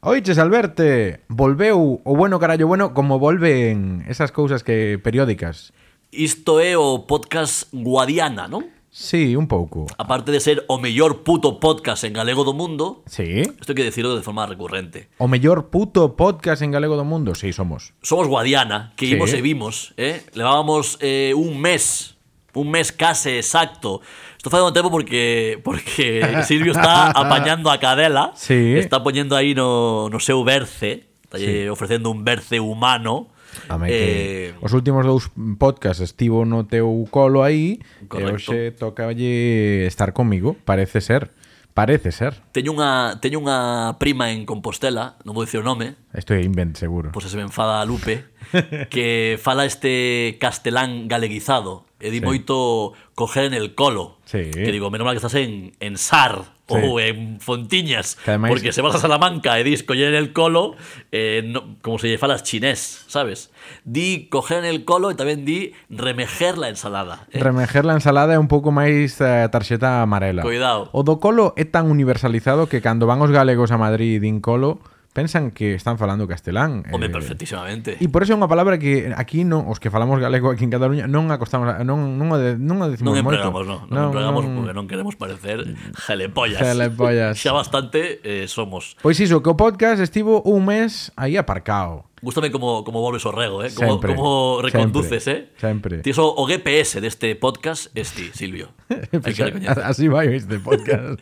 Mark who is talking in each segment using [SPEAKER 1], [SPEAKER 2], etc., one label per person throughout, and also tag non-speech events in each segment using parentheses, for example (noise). [SPEAKER 1] Oiches, Alberte, volveu o bueno carallo bueno como volven esas cousas que periódicas.
[SPEAKER 2] Isto é o podcast Guadiana, non?
[SPEAKER 1] Sí, un pouco.
[SPEAKER 2] Aparte de ser o mellor puto podcast en galego do mundo,
[SPEAKER 1] Sí.
[SPEAKER 2] isto hai que decirlo de forma recurrente.
[SPEAKER 1] O mellor puto podcast en galego do mundo. Sí, somos.
[SPEAKER 2] Somos Guadiana, que
[SPEAKER 1] Sí.
[SPEAKER 2] imos e vimos, eh? Levábamos eh, un mes, un mes case exacto. Estou facendo tempo porque
[SPEAKER 1] (laughs)
[SPEAKER 2] porque Silvio está apañando a cadela,
[SPEAKER 1] Sí.
[SPEAKER 2] está poñendo aí no, no seu berce, está
[SPEAKER 1] Sí.
[SPEAKER 2] ofrecendo un berce humano.
[SPEAKER 1] Ame
[SPEAKER 2] eh,
[SPEAKER 1] que os últimos dous podcasts estivo no teu colo aí
[SPEAKER 2] Correcto.
[SPEAKER 1] e hoxe tocalle estar comigo, parece ser. Parece ser.
[SPEAKER 2] Teño unha, teño unha prima en Compostela, non vou dicir o nome,
[SPEAKER 1] Isto é invent seguro.
[SPEAKER 2] pois pues se me enfada a Lupe,
[SPEAKER 1] (laughs)
[SPEAKER 2] que fala este castelán galeguizado. E di
[SPEAKER 1] Sí.
[SPEAKER 2] moito coger en el colo.
[SPEAKER 1] Sí.
[SPEAKER 2] Que digo, menos mal que estás en, en Sar
[SPEAKER 1] Sí.
[SPEAKER 2] ou en Fontiñas.
[SPEAKER 1] Que ademais-
[SPEAKER 2] Porque se vas a Salamanca e dis coger en el colo, eh, no- como se lle falas chinés, sabes? Di coger en el colo e tamén di remejer la ensalada. eh.
[SPEAKER 1] Remejer la ensalada é un pouco máis eh, tarxeta amarela.
[SPEAKER 2] Cuidado.
[SPEAKER 1] O do colo é tan universalizado que cando van os galegos a Madrid e din colo, pensan que están falando castelán.
[SPEAKER 2] Home,
[SPEAKER 1] eh,
[SPEAKER 2] perfectísimamente.
[SPEAKER 1] E por eso é unha palabra que aquí non, os que falamos galego aquí en Cataluña non acostamos, a- non non o de, non o decimos
[SPEAKER 2] Non
[SPEAKER 1] moito.
[SPEAKER 2] empregamos, non. Non, empregamos porque non queremos parecer gelepollas.
[SPEAKER 1] Gelepollas.
[SPEAKER 2] (laughs) Xa bastante eh, somos.
[SPEAKER 1] Pois iso, que o podcast estivo un mes aí aparcado.
[SPEAKER 2] Gústame como, como volves o rego, eh? Como,
[SPEAKER 1] Sempre,
[SPEAKER 2] como reconduces,
[SPEAKER 1] sempre,
[SPEAKER 2] eh?
[SPEAKER 1] sempre.
[SPEAKER 2] Ti so, o GPS deste podcast es ti,
[SPEAKER 1] (laughs)
[SPEAKER 2] Silvio. Hai que recoñecer.
[SPEAKER 1] Así vai este podcast.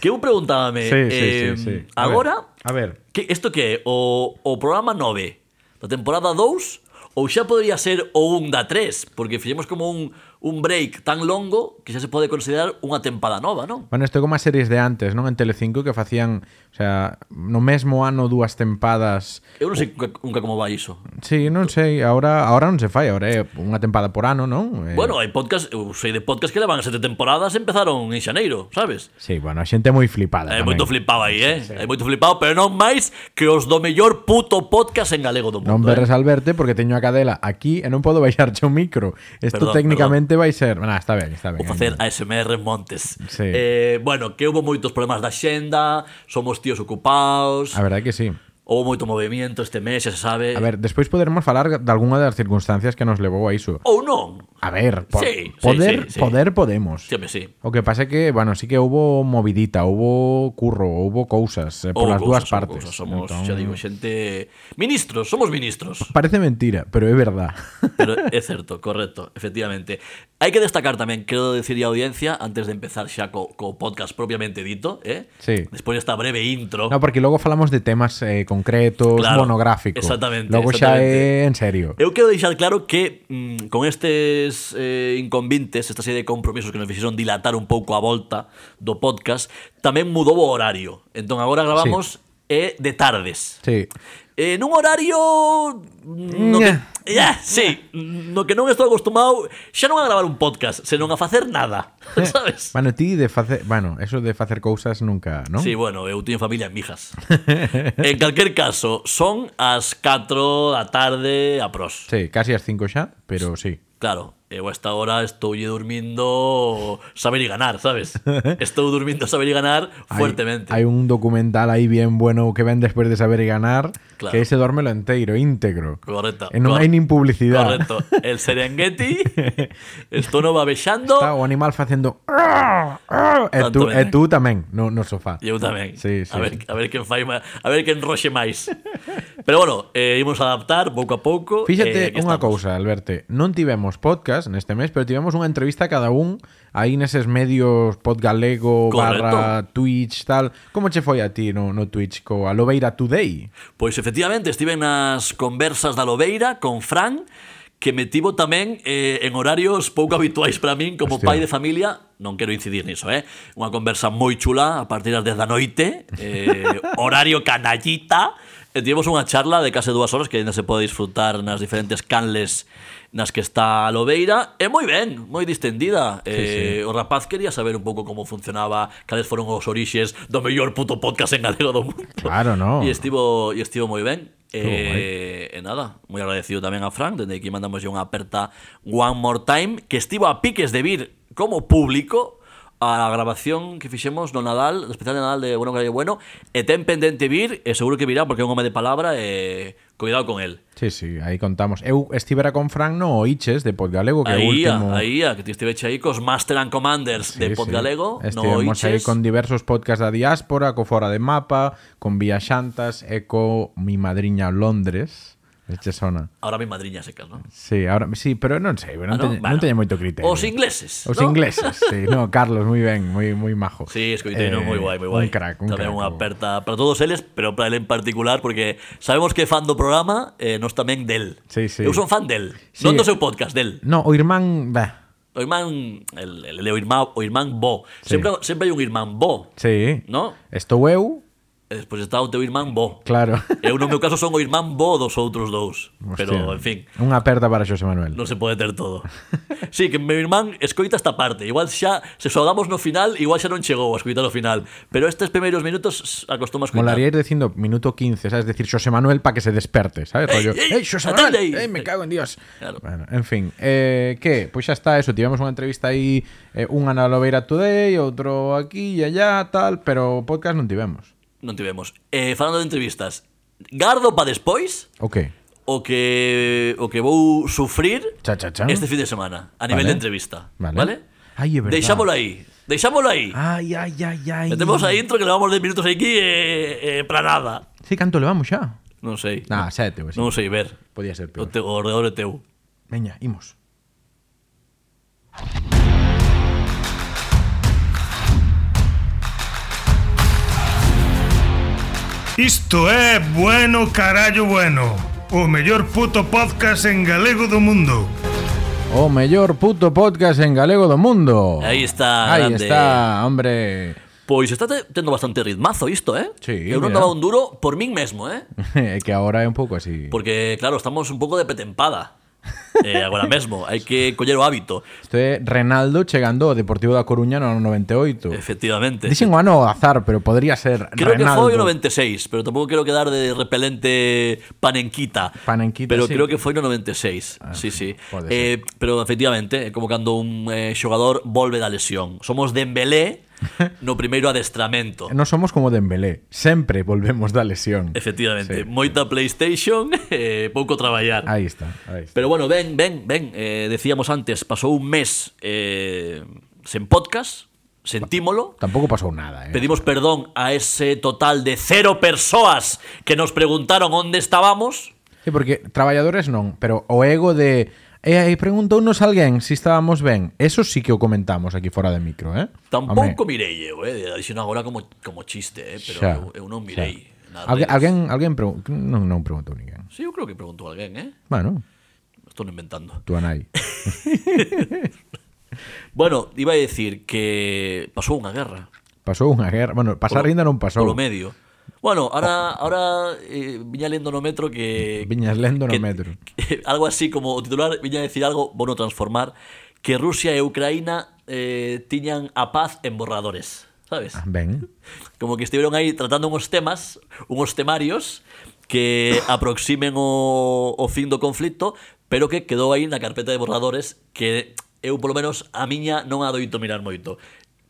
[SPEAKER 2] Que eu preguntábame,
[SPEAKER 1] sí, sí, sí,
[SPEAKER 2] (laughs) eh,
[SPEAKER 1] sí. A
[SPEAKER 2] agora,
[SPEAKER 1] ver, a ver.
[SPEAKER 2] que isto que é? O, o programa 9 da temporada 2 ou xa podría ser o 1 da 3, porque fixemos como un, un break tan longo que xa se pode considerar unha tempada nova, non?
[SPEAKER 1] Bueno, isto é como as series de antes, non? En Telecinco que facían, o sea, no mesmo ano dúas tempadas.
[SPEAKER 2] Eu non
[SPEAKER 1] Uh.
[SPEAKER 2] sei nunca, nunca como vai iso.
[SPEAKER 1] Sí, non sei, ahora ahora non se fai, ahora é unha tempada por ano, non? Eh,
[SPEAKER 2] Bueno, hai podcast, eu sei de podcast que levan sete temporadas e empezaron en xaneiro, sabes?
[SPEAKER 1] Sí, bueno, a xente é moi flipada
[SPEAKER 2] Hai
[SPEAKER 1] tamén.
[SPEAKER 2] moito flipado aí, eh? Hai moito flipado, pero non máis que os do mellor puto podcast en galego do
[SPEAKER 1] Non
[SPEAKER 2] mundo.
[SPEAKER 1] berres
[SPEAKER 2] eh?
[SPEAKER 1] al verte porque teño a cadela aquí e non podo (laughs) baixarche o micro. Isto
[SPEAKER 2] Perdón,
[SPEAKER 1] técnicamente vai ser, nah, está ben, está ben.
[SPEAKER 2] Vou facer ASMR Montes.
[SPEAKER 1] Sí.
[SPEAKER 2] Eh, bueno, que houve moitos problemas da xenda, somos tíos ocupados,
[SPEAKER 1] A verdade que sí.
[SPEAKER 2] houve moito movimento este mes, xa se sabe.
[SPEAKER 1] A ver, despois poderemos falar de algunha das circunstancias que nos levou a iso.
[SPEAKER 2] Ou non.
[SPEAKER 1] A ver, po-
[SPEAKER 2] Sí, sí,
[SPEAKER 1] poder,
[SPEAKER 2] sí, sí.
[SPEAKER 1] poder podemos.
[SPEAKER 2] Sí, home, sí.
[SPEAKER 1] O que pasa é que, bueno, sí que houbo movidita, houbo curro, houbo cousas eh, por
[SPEAKER 2] Houve
[SPEAKER 1] las
[SPEAKER 2] cousas,
[SPEAKER 1] dúas
[SPEAKER 2] houve
[SPEAKER 1] partes. Entón-
[SPEAKER 2] cousas, Somos, xa digo, xente... Ministros, somos ministros.
[SPEAKER 1] Parece mentira, pero é
[SPEAKER 2] (laughs)
[SPEAKER 1] verdad.
[SPEAKER 2] Pero é certo, correcto, efectivamente. Hai que destacar tamén, quero decir a audiencia, antes de empezar xa co, co podcast propiamente dito, eh?
[SPEAKER 1] Sí.
[SPEAKER 2] Despois desta breve intro.
[SPEAKER 1] no, porque logo falamos de temas eh, concretos,
[SPEAKER 2] Claro,
[SPEAKER 1] monográficos.
[SPEAKER 2] exactamente,
[SPEAKER 1] Logo xa é
[SPEAKER 2] exactamente.
[SPEAKER 1] en serio.
[SPEAKER 2] Eu quero deixar claro que mm, con estes eh, inconvintes, esta serie de compromisos que nos fixeron dilatar un pouco a volta do podcast, tamén mudou o horario. Entón agora gravamos eh, de tardes.
[SPEAKER 1] Sí.
[SPEAKER 2] En un horario mm, no que,
[SPEAKER 1] Ña.
[SPEAKER 2] ya, sí, no que non estou acostumado xa non a gravar un podcast, senón a facer nada, (laughs) sabes?
[SPEAKER 1] Bueno, ti de facer, bueno, eso de facer cousas nunca, non?
[SPEAKER 2] Sí, bueno, eu teño familia en Mijas. en calquer caso, son as 4 da tarde a pros.
[SPEAKER 1] Sí, casi as 5 xa, pero sí.
[SPEAKER 2] Claro, eu a esta hora estou durmindo saber y ganar,
[SPEAKER 1] (laughs)
[SPEAKER 2] sabes? Estou durmindo saber y ganar
[SPEAKER 1] Hay-
[SPEAKER 2] fuertemente.
[SPEAKER 1] Hay, un documental ahí bien bueno que ven después de saber y ganar,
[SPEAKER 2] Claro.
[SPEAKER 1] que ese duérmelo entero, íntegro.
[SPEAKER 2] Correcto.
[SPEAKER 1] Eh, no
[SPEAKER 2] cor-
[SPEAKER 1] hay ni publicidad.
[SPEAKER 2] Correcto.
[SPEAKER 1] (laughs)
[SPEAKER 2] El Serengeti. Estou no babexando.
[SPEAKER 1] Está o animal facendo E tú,
[SPEAKER 2] Tanto ben.
[SPEAKER 1] e tú tamén, no, no sofá.
[SPEAKER 2] Eu tamén.
[SPEAKER 1] Sí, sí,
[SPEAKER 2] a, ver,
[SPEAKER 1] sí.
[SPEAKER 2] a ver quen fai má- a ver quen roxe máis. Pero bueno, eh, imos adaptar pouco a pouco.
[SPEAKER 1] Fíxate
[SPEAKER 2] eh, aquí
[SPEAKER 1] unha
[SPEAKER 2] estamos.
[SPEAKER 1] cousa, Alberto Non tivemos podcast neste mes Pero tivemos unha entrevista a cada un Aí neses medios podgalego
[SPEAKER 2] Correcto.
[SPEAKER 1] Barra Twitch tal Como che foi a ti no, no Twitch co Alobeira Today?
[SPEAKER 2] Pois efectivamente, estive nas conversas da Lobeira con Fran, que me tivo tamén eh, en horarios pouco (laughs) habituais para min como
[SPEAKER 1] Hostia.
[SPEAKER 2] pai de familia, non quero incidir niso, eh? Unha conversa moi chula a partir das 10 da noite, eh, horario canallita, e tivemos unha charla de case dúas horas que ainda se pode disfrutar nas diferentes canles nas que está a Lobeira e moi ben, moi distendida eh, o rapaz quería saber un pouco como funcionaba cales foron os orixes do mellor puto podcast en galego do mundo
[SPEAKER 1] Claro, no.
[SPEAKER 2] E estivo, e estivo moi ben.
[SPEAKER 1] Estuvo
[SPEAKER 2] Eh, e nada, moi agradecido tamén a Frank Dende aquí mandamos unha aperta One More Time Que estivo a piques de vir como público a grabación que fixemos no Nadal, no especial de Nadal de Bueno, Calle Bueno, e ten pendente vir, e seguro que virá porque é un home de palabra, e cuidado con el.
[SPEAKER 1] Sí, sí, aí contamos. Eu estivera con Fran no Oiches de Podgalego, que é o
[SPEAKER 2] Aí,
[SPEAKER 1] último...
[SPEAKER 2] a, aí, a, que ti estivete aí cos Master and Commanders
[SPEAKER 1] Sí,
[SPEAKER 2] de Podgalego,
[SPEAKER 1] sí.
[SPEAKER 2] no
[SPEAKER 1] Estivemos aí
[SPEAKER 2] oiches.
[SPEAKER 1] con diversos podcasts da diáspora, co Fora de Mapa, con Viaxantas e co Mi Madriña Londres. Este sona.
[SPEAKER 2] Ahora mi madriña secas, ¿no?
[SPEAKER 1] Sí, ahora sí, pero non sei, non,
[SPEAKER 2] Ah, non?
[SPEAKER 1] teño,
[SPEAKER 2] Bueno.
[SPEAKER 1] non teño moito criterio.
[SPEAKER 2] Os ingleses.
[SPEAKER 1] Os
[SPEAKER 2] ¿no?
[SPEAKER 1] ingleses, sí,
[SPEAKER 2] (laughs)
[SPEAKER 1] no, Carlos, moi ben, moi moi majo.
[SPEAKER 2] Sí, es que hoy
[SPEAKER 1] Eh,
[SPEAKER 2] tiene un muy guay, muy guay.
[SPEAKER 1] Un crack, un
[SPEAKER 2] tamén
[SPEAKER 1] crack.
[SPEAKER 2] unha
[SPEAKER 1] o-
[SPEAKER 2] aperta para todos eles, pero para él en particular, porque sabemos que é fan do programa, eh, nos tamén del.
[SPEAKER 1] Sí, sí.
[SPEAKER 2] Eu son fan del.
[SPEAKER 1] Sí.
[SPEAKER 2] Non do seu podcast, del.
[SPEAKER 1] No, o irmán, bah,
[SPEAKER 2] O irmán, el, el, el, o irmán, o irmán Bo. Sempre, sempre hai un irmán Bo,
[SPEAKER 1] sí.
[SPEAKER 2] no?
[SPEAKER 1] Estou eu,
[SPEAKER 2] E despois está o teu irmán Bo.
[SPEAKER 1] claro.
[SPEAKER 2] Eu no meu caso son o irmán Bo dos outros dous. Pero,
[SPEAKER 1] Hostia,
[SPEAKER 2] en fin.
[SPEAKER 1] Unha aperta para Xosé Manuel.
[SPEAKER 2] Non se pode
[SPEAKER 1] (laughs)
[SPEAKER 2] ter todo. Sí, que meu irmán escoita esta parte. Igual xa, se xogamos no final, igual xa non chegou a escoitar o final. Pero estes primeiros minutos acostuma a escoitar.
[SPEAKER 1] Molaría ir diciendo minuto 15, ¿sabes? Decir José Manuel para que se desperte, ¿sabes?
[SPEAKER 2] Ey,
[SPEAKER 1] Rollo, ¡Ey,
[SPEAKER 2] ey,
[SPEAKER 1] José
[SPEAKER 2] atende
[SPEAKER 1] Manuel!
[SPEAKER 2] ahí.
[SPEAKER 1] ¡Ey, me cago en Dios!
[SPEAKER 2] Claro.
[SPEAKER 1] Bueno, en fin, eh, ¿qué? Pues ya está eso. Tivemos una entrevista ahí, eh, un Ana Lobeira Today, otro aquí y allá, tal, pero podcast no tivemos.
[SPEAKER 2] Non tivemos. Eh, falando de entrevistas, gardo pa despois
[SPEAKER 1] Ok.
[SPEAKER 2] o que o que vou sufrir
[SPEAKER 1] Cha, cha, cha.
[SPEAKER 2] este fin de semana a nivel
[SPEAKER 1] Vale.
[SPEAKER 2] de entrevista,
[SPEAKER 1] Vale.
[SPEAKER 2] vale?
[SPEAKER 1] Ay, é verdad.
[SPEAKER 2] Deixámolo aí. Deixámolo aí.
[SPEAKER 1] Ay, ay, ay, ay.
[SPEAKER 2] Metemos a intro que levamos 10 minutos aquí e eh, para nada.
[SPEAKER 1] Sí, canto le vamos ya.
[SPEAKER 2] Non sei.
[SPEAKER 1] Nah, sete, pues.
[SPEAKER 2] Non sei ver.
[SPEAKER 1] Podía ser
[SPEAKER 2] O,
[SPEAKER 1] peor.
[SPEAKER 2] te, o ordenador é teu.
[SPEAKER 1] Veña, imos.
[SPEAKER 3] Isto é Bueno Carallo Bueno O mellor puto podcast en galego do mundo
[SPEAKER 1] O mellor puto podcast en galego do mundo.
[SPEAKER 2] Aí está,
[SPEAKER 1] Ahí
[SPEAKER 2] grande.
[SPEAKER 1] está, hombre.
[SPEAKER 2] Pois está te, tendo bastante ritmazo isto, eh?
[SPEAKER 1] Sí,
[SPEAKER 2] Eu non
[SPEAKER 1] mira.
[SPEAKER 2] daba un duro por min mesmo, eh?
[SPEAKER 1] (laughs) É que ahora é un pouco así.
[SPEAKER 2] Porque, claro, estamos un pouco de petempada. Eh, agora mesmo, hai que coller o hábito.
[SPEAKER 1] Isto é Renaldo chegando ao Deportivo da Coruña no ano 98.
[SPEAKER 2] Efectivamente.
[SPEAKER 1] Dixen o ano ao azar, pero podría ser
[SPEAKER 2] Creo que
[SPEAKER 1] Renaldo.
[SPEAKER 2] foi o 96, pero tampouco quero quedar de repelente panenquita.
[SPEAKER 1] Panenquita,
[SPEAKER 2] Pero
[SPEAKER 1] sí. Ah,
[SPEAKER 2] creo que foi no 96. sí, sí.
[SPEAKER 1] pode
[SPEAKER 2] Eh, pero efectivamente, é como cando un eh, xogador volve da lesión. Somos Dembélé
[SPEAKER 1] (laughs)
[SPEAKER 2] no primeiro adestramento.
[SPEAKER 1] Non somos como Dembélé, sempre volvemos da lesión.
[SPEAKER 2] Efectivamente,
[SPEAKER 1] Sí. Ah.
[SPEAKER 2] moita PlayStation, (laughs) eh, pouco traballar.
[SPEAKER 1] Aí está, aí está.
[SPEAKER 2] Pero bueno, ven, ven, ven. Eh, decíamos antes, pasou un mes eh, sen podcast, sentímolo.
[SPEAKER 1] Tampouco pasou nada, eh.
[SPEAKER 2] Pedimos perdón a ese total de cero personas que nos preguntaron dónde estábamos.
[SPEAKER 1] Sí, porque traballadores non, pero o ego de E aí preguntounos alguén se si estábamos ben. Eso sí que o comentamos aquí fora de micro, eh? Home,
[SPEAKER 2] Tampouco mirei eu, eh? Dixen agora como, como chiste, eh? pero
[SPEAKER 1] xa,
[SPEAKER 2] eu, eu non
[SPEAKER 1] xa.
[SPEAKER 2] mirei. nas
[SPEAKER 1] Algu
[SPEAKER 2] redes.
[SPEAKER 1] alguén, alguén pregu non, non preguntou ninguén.
[SPEAKER 2] Sí, eu creo que preguntou alguén, eh?
[SPEAKER 1] Bueno,
[SPEAKER 2] Estou inventando.
[SPEAKER 1] tú anai.
[SPEAKER 2] Bueno, iba a decir que pasou unha guerra.
[SPEAKER 1] Pasou unha guerra. Bueno, pasar
[SPEAKER 2] Polo-
[SPEAKER 1] ainda non pasou.
[SPEAKER 2] Polo medio. Bueno, ahora, ahora eh, viña lendo no metro que...
[SPEAKER 1] Viñas lendo no
[SPEAKER 2] que-
[SPEAKER 1] metro.
[SPEAKER 2] (laughs) que- algo así como o titular viña a decir algo, bueno, transformar, que Rusia e Ucraína eh, tiñan a paz en borradores, sabes?
[SPEAKER 1] Ah, Ben.
[SPEAKER 2] Como que estiveron aí tratando unos temas, unos temarios que aproximen o, o fin do conflito, pero que quedou aí na carpeta de borradores que eu, polo menos, a miña non adoito mirar moito.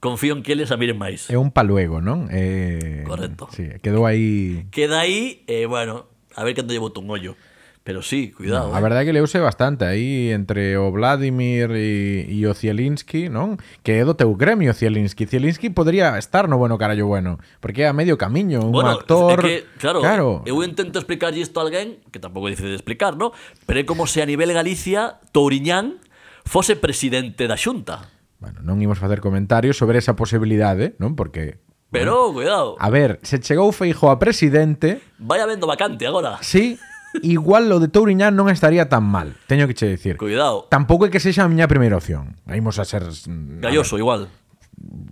[SPEAKER 2] Confío en que eles a miren máis.
[SPEAKER 1] É un paluego, non? Eh,
[SPEAKER 2] Correcto.
[SPEAKER 1] Sí, quedou aí...
[SPEAKER 2] Queda aí, eh, bueno, a ver cando lle boto un ollo. Pero sí, cuidado.
[SPEAKER 1] A
[SPEAKER 2] eh.
[SPEAKER 1] verdade é que leuse bastante aí entre o Vladimir e, e o Zielinski, non? Que é do teu gremio Zielinski. Zielinski podría estar no bueno carallo bueno, porque é a medio camiño, un
[SPEAKER 2] Bueno,
[SPEAKER 1] actor...
[SPEAKER 2] é que, claro,
[SPEAKER 1] claro.
[SPEAKER 2] eu intento explicarlle isto a alguén que tampouco é difícil de explicar, ¿no? Pero é como se a nivel Galicia Touriñán fose presidente da Xunta.
[SPEAKER 1] Bueno, non imos facer comentarios sobre esa posibilidade, non? Porque...
[SPEAKER 2] Pero cuidado,
[SPEAKER 1] A ver, se chegou Feijo a presidente,
[SPEAKER 2] vai habendo vacante agora.
[SPEAKER 1] sí, igual lo de Touriñán non estaría tan mal, teño que che dicir.
[SPEAKER 2] Cuidado.
[SPEAKER 1] Tampouco é que sexa a miña primeira opción. Imos a ser... mm, a
[SPEAKER 2] Galloso igual.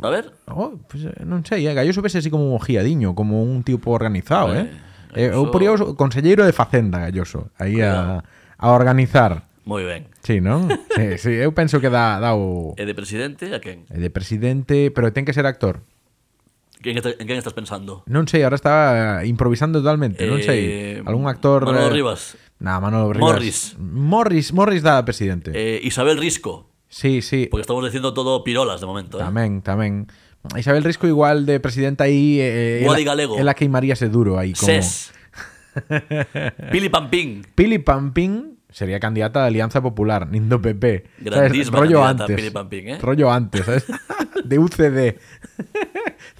[SPEAKER 2] A ver,
[SPEAKER 1] Oh, pues, eh, non sei, eh, Galloso vese así como un ojiadiño, como un tipo organizado, eh. eh eu
[SPEAKER 2] Galloso-
[SPEAKER 1] poría o conselleiro de Facenda, Galloso, aí a, a organizar.
[SPEAKER 2] moi ben.
[SPEAKER 1] Sí,
[SPEAKER 2] (laughs)
[SPEAKER 1] non? sí, sí, eu penso que dá, dá o
[SPEAKER 2] E de presidente a quen?
[SPEAKER 1] e de presidente, pero ten que ser actor.
[SPEAKER 2] Quen está- En quen estás pensando?
[SPEAKER 1] Non sei, ahora está eh, improvisando totalmente, non sei.
[SPEAKER 2] Eh,
[SPEAKER 1] Algún actor
[SPEAKER 2] Manolo
[SPEAKER 1] eh,
[SPEAKER 2] Rivas.
[SPEAKER 1] Nah, Manolo Rivas.
[SPEAKER 2] Morris.
[SPEAKER 1] Morris, Morris dá presidente.
[SPEAKER 2] Eh, Isabel Risco.
[SPEAKER 1] Sí, sí.
[SPEAKER 2] Porque estamos diciendo todo pirolas de momento. ¿eh?
[SPEAKER 1] Tamén, tamén. Isabel Risco igual de presidenta aí eh,
[SPEAKER 2] Guadi
[SPEAKER 1] ela,
[SPEAKER 2] galego.
[SPEAKER 1] ela queimaríase duro aí como (laughs)
[SPEAKER 2] SES. Pili Pampín.
[SPEAKER 1] Pili Pampín sería candidata da Alianza Popular, nindo PP. ¿sabes?
[SPEAKER 2] Grandísima
[SPEAKER 1] Rollo
[SPEAKER 2] candidata,
[SPEAKER 1] antes.
[SPEAKER 2] Pili Pampín, ¿eh?
[SPEAKER 1] Rollo antes,
[SPEAKER 2] (laughs)
[SPEAKER 1] ¿sabes? De UCD.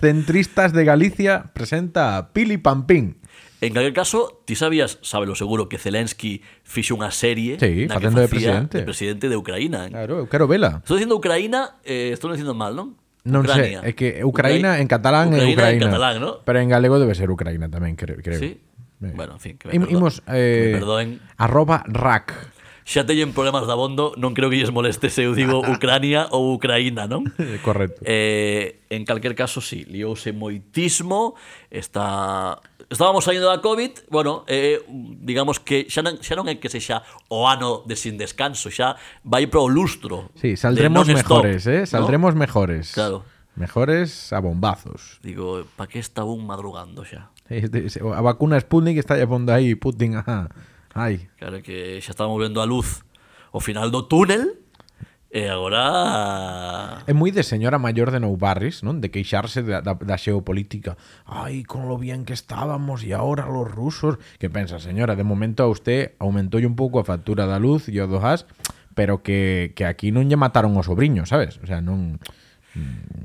[SPEAKER 1] Centristas de Galicia presenta a Pili Pampín.
[SPEAKER 2] En calquer caso, ti sabías, sábelo seguro, que Zelensky fixo unha serie
[SPEAKER 1] Sí,
[SPEAKER 2] na que
[SPEAKER 1] facendo de
[SPEAKER 2] facía
[SPEAKER 1] presidente.
[SPEAKER 2] de presidente de ¿eh? Ucraína.
[SPEAKER 1] Claro, eu quero vela.
[SPEAKER 2] Estou dicindo Ucraína, eh, estou dicindo mal, non?
[SPEAKER 1] Non sei, é que Ucraína en catalán é Ucraína.
[SPEAKER 2] en catalán, ¿no?
[SPEAKER 1] Pero en galego debe ser Ucraína tamén, creo. creo.
[SPEAKER 2] Sí. Bueno, en fin, que me,
[SPEAKER 1] Im-
[SPEAKER 2] perdo-
[SPEAKER 1] imos,
[SPEAKER 2] que
[SPEAKER 1] eh,
[SPEAKER 2] me perdoen.
[SPEAKER 1] arroba rack.
[SPEAKER 2] Xa teñen problemas de abondo, non creo que lles moleste se
[SPEAKER 1] (laughs)
[SPEAKER 2] eu digo Ucrania ou Ucraína, non? (laughs)
[SPEAKER 1] Correcto.
[SPEAKER 2] Eh, en calquer caso, sí, liouse moitismo, está... Estábamos saindo da COVID, bueno, eh, digamos que xa non, xa non é que sexa o ano de sin descanso, xa vai pro lustro.
[SPEAKER 1] Sí, saldremos
[SPEAKER 2] de non-stop,
[SPEAKER 1] mejores, ¿eh?
[SPEAKER 2] ¿no?
[SPEAKER 1] Saldremos mejores.
[SPEAKER 2] Claro.
[SPEAKER 1] Mejores a (laughs) bombazos.
[SPEAKER 2] Digo, pa que está un madrugando xa?
[SPEAKER 1] Este- se- A vacuna Sputnik está ya pondo aí Putin. Ajá. Ay.
[SPEAKER 2] Claro que xa estamos vendo a luz o final do túnel, e agora...
[SPEAKER 1] É moi de señora maior de Nou Barris, non? De queixarse da, da, da xeopolítica. Ai, con lo bien que estábamos e agora los rusos. Que pensa, señora, de momento a usted aumentoulle un pouco a factura da luz e o do gas, pero que, que aquí non lle mataron o sobriño, sabes? O sea, non...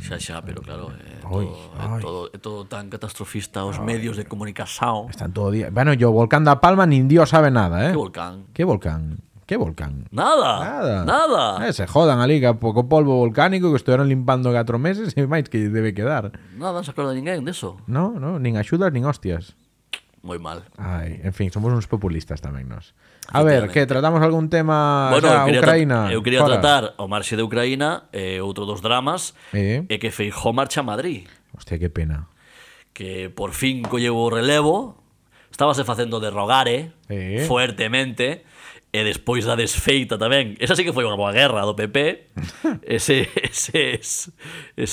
[SPEAKER 2] Xa, xa, pero claro, é
[SPEAKER 1] Ai,
[SPEAKER 2] todo, é
[SPEAKER 1] ai.
[SPEAKER 2] todo, é todo tan catastrofista os medios de comunicación.
[SPEAKER 1] Están todo día... Bueno, yo volcán da Palma nin Dios sabe nada, eh?
[SPEAKER 2] Que volcán.
[SPEAKER 1] Que volcán? Que volcán?
[SPEAKER 2] Nada,
[SPEAKER 1] Nada.
[SPEAKER 2] nada.
[SPEAKER 1] Eh, se jodan ali, que pouco polvo volcánico que estuveron limpando 4 meses (laughs) e máis que lle debe quedar.
[SPEAKER 2] Nada, non se acorda ninguén deso.
[SPEAKER 1] No, no, nin axudas, nin hostias.
[SPEAKER 2] Moi mal.
[SPEAKER 1] Ai, en fin, somos uns populistas tamén nos. A ver, que tratamos algún tema
[SPEAKER 2] Bueno,
[SPEAKER 1] xa,
[SPEAKER 2] eu quería,
[SPEAKER 1] Ucraína?
[SPEAKER 2] tra- eu quería
[SPEAKER 1] Fora.
[SPEAKER 2] tratar o marxe de Ucraína e outro dos dramas
[SPEAKER 1] Eh.
[SPEAKER 2] é que Feijó marcha a Madrid,
[SPEAKER 1] Hostia, que pena.
[SPEAKER 2] que por fin colleu o relevo, estábase facendo de rogare
[SPEAKER 1] Eh.
[SPEAKER 2] fuertemente e despois da desfeita tamén. Esa sí que foi unha boa guerra do
[SPEAKER 1] (laughs)
[SPEAKER 2] PP. Ese, eses,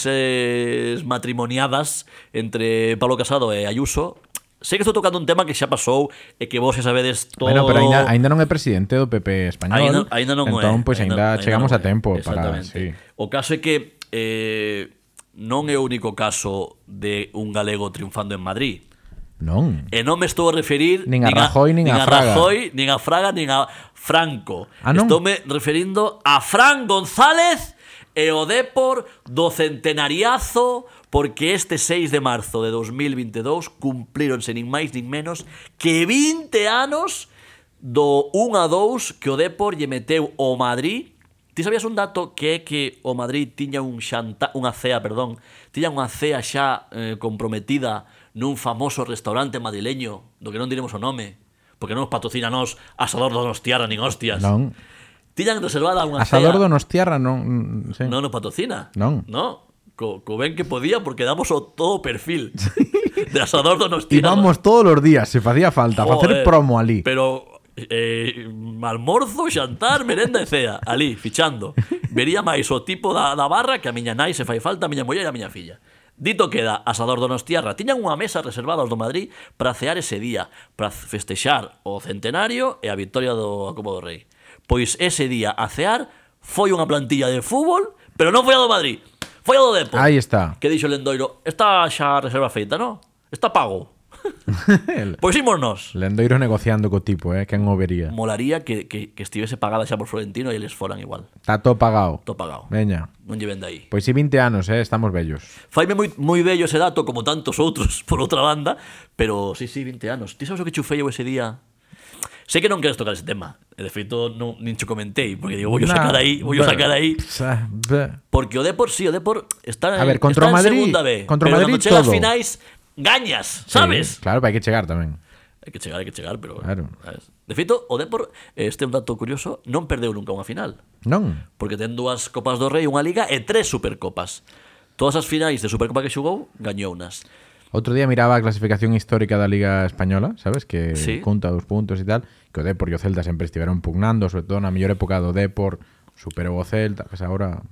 [SPEAKER 2] eses matrimoniadas entre Pablo Casado e Ayuso. Sei que estou tocando un tema que xa pasou e que vos xa sabedes todo...
[SPEAKER 1] Bueno, pero ainda, ainda non é presidente do PP español.
[SPEAKER 2] Ainda, ainda non
[SPEAKER 1] entón,
[SPEAKER 2] é.
[SPEAKER 1] pois ainda, chegamos
[SPEAKER 2] non
[SPEAKER 1] a
[SPEAKER 2] é.
[SPEAKER 1] tempo para,
[SPEAKER 2] Exactamente.
[SPEAKER 1] sí.
[SPEAKER 2] O caso é que eh, non é o único caso de un galego triunfando en Madrid.
[SPEAKER 1] Non.
[SPEAKER 2] E non me estou a referir
[SPEAKER 1] Nin a Rajoy, nin a Fraga.
[SPEAKER 2] Rajoy, nin a Fraga, nin a Franco.
[SPEAKER 1] Ah, non?
[SPEAKER 2] estou me referindo a Fran González e o Depor do centenariazo porque este 6 de marzo de 2022 cumplíronse nin máis nin menos que 20 anos do 1 a 2 que o Depor lle meteu o Madrid Ti sabías un dato que é que o Madrid tiña un xanta, unha cea, perdón, tiña unha cea xa eh, comprometida nun famoso restaurante madrileño, do que non diremos o nome, porque non nos patrocina nós Asador Donostiarra nin hostias.
[SPEAKER 1] Non.
[SPEAKER 2] Tiñan reservada unha
[SPEAKER 1] Asador
[SPEAKER 2] cea.
[SPEAKER 1] Donostiarra non... Sí.
[SPEAKER 2] Non nos patrocina.
[SPEAKER 1] Non.
[SPEAKER 2] No. Co, co ben que podía porque damos o todo perfil
[SPEAKER 1] (laughs)
[SPEAKER 2] de
[SPEAKER 1] Y
[SPEAKER 2] Asador Donostiarra.
[SPEAKER 1] vamos todos los días, se facía falta, para hacer
[SPEAKER 2] Joder,
[SPEAKER 1] promo ali.
[SPEAKER 2] Oh, eh, Pero eh, almorzo, xantar, merenda e cea, ali, fichando. Vería máis o tipo da, da barra que a miña nai se fai falta, a miña muller e a miña filla. Dito queda, Asador Donostiarra tiñan unha mesa reservada aos do Madrid para cear ese día, para festexar o centenario e a victoria do Acobo do Rei. Pois ese día a cear foi unha plantilla de fútbol, pero non foi a do Madrid, foi a do Depor.
[SPEAKER 1] Ahí está. (laughs)
[SPEAKER 2] Que dixo o Lendoiro, está xa a reserva feita, non? Está pago.
[SPEAKER 1] El-
[SPEAKER 2] Pois imos nós.
[SPEAKER 1] Lendoiro negociando co tipo, eh, que en overía.
[SPEAKER 2] Molaría que, que, que estivese pagada xa por Florentino e eles foran igual.
[SPEAKER 1] Está todo pagado.
[SPEAKER 2] Todo pagado.
[SPEAKER 1] Veña.
[SPEAKER 2] Non lle venda aí.
[SPEAKER 1] Pois si 20 anos, eh, estamos bellos.
[SPEAKER 2] Faime moi, moi bello ese dato, como tantos outros, (laughs) por outra banda, pero sí, sí, 20 anos. Ti sabes o que chufei eu ese día? Sei que non queres tocar ese tema. E de feito, non, nin cho comentei, porque digo, vou
[SPEAKER 1] Nah,
[SPEAKER 2] sacar aí, vou
[SPEAKER 1] bueno,
[SPEAKER 2] sacar aí.
[SPEAKER 1] sa- be-
[SPEAKER 2] Porque o Depor, sí, o Depor está,
[SPEAKER 1] A ver, contra o
[SPEAKER 2] está
[SPEAKER 1] Madrid-
[SPEAKER 2] en segunda B.
[SPEAKER 1] contra o
[SPEAKER 2] pero
[SPEAKER 1] Madrid
[SPEAKER 2] cando chegas ás
[SPEAKER 1] todo.
[SPEAKER 2] finais, gañas,
[SPEAKER 1] Sí,
[SPEAKER 2] sabes?
[SPEAKER 1] claro, pero hai que chegar tamén.
[SPEAKER 2] Hai que chegar, hai que chegar, pero...
[SPEAKER 1] Claro.
[SPEAKER 2] sabes? De feito, o Depor, este é un dato curioso, non perdeu nunca unha final.
[SPEAKER 1] Non?
[SPEAKER 2] Porque ten dúas Copas do Rei, unha Liga e tres Supercopas. Todas as finais de Supercopa que xogou, gañounas.
[SPEAKER 1] Outro día miraba a clasificación histórica da Liga Española, sabes? Que
[SPEAKER 2] Sí.
[SPEAKER 1] conta os puntos e tal. Que o Depor e o Celta sempre estiveron pugnando, sobre todo na mellor época do Depor, superou o Celta, pues agora...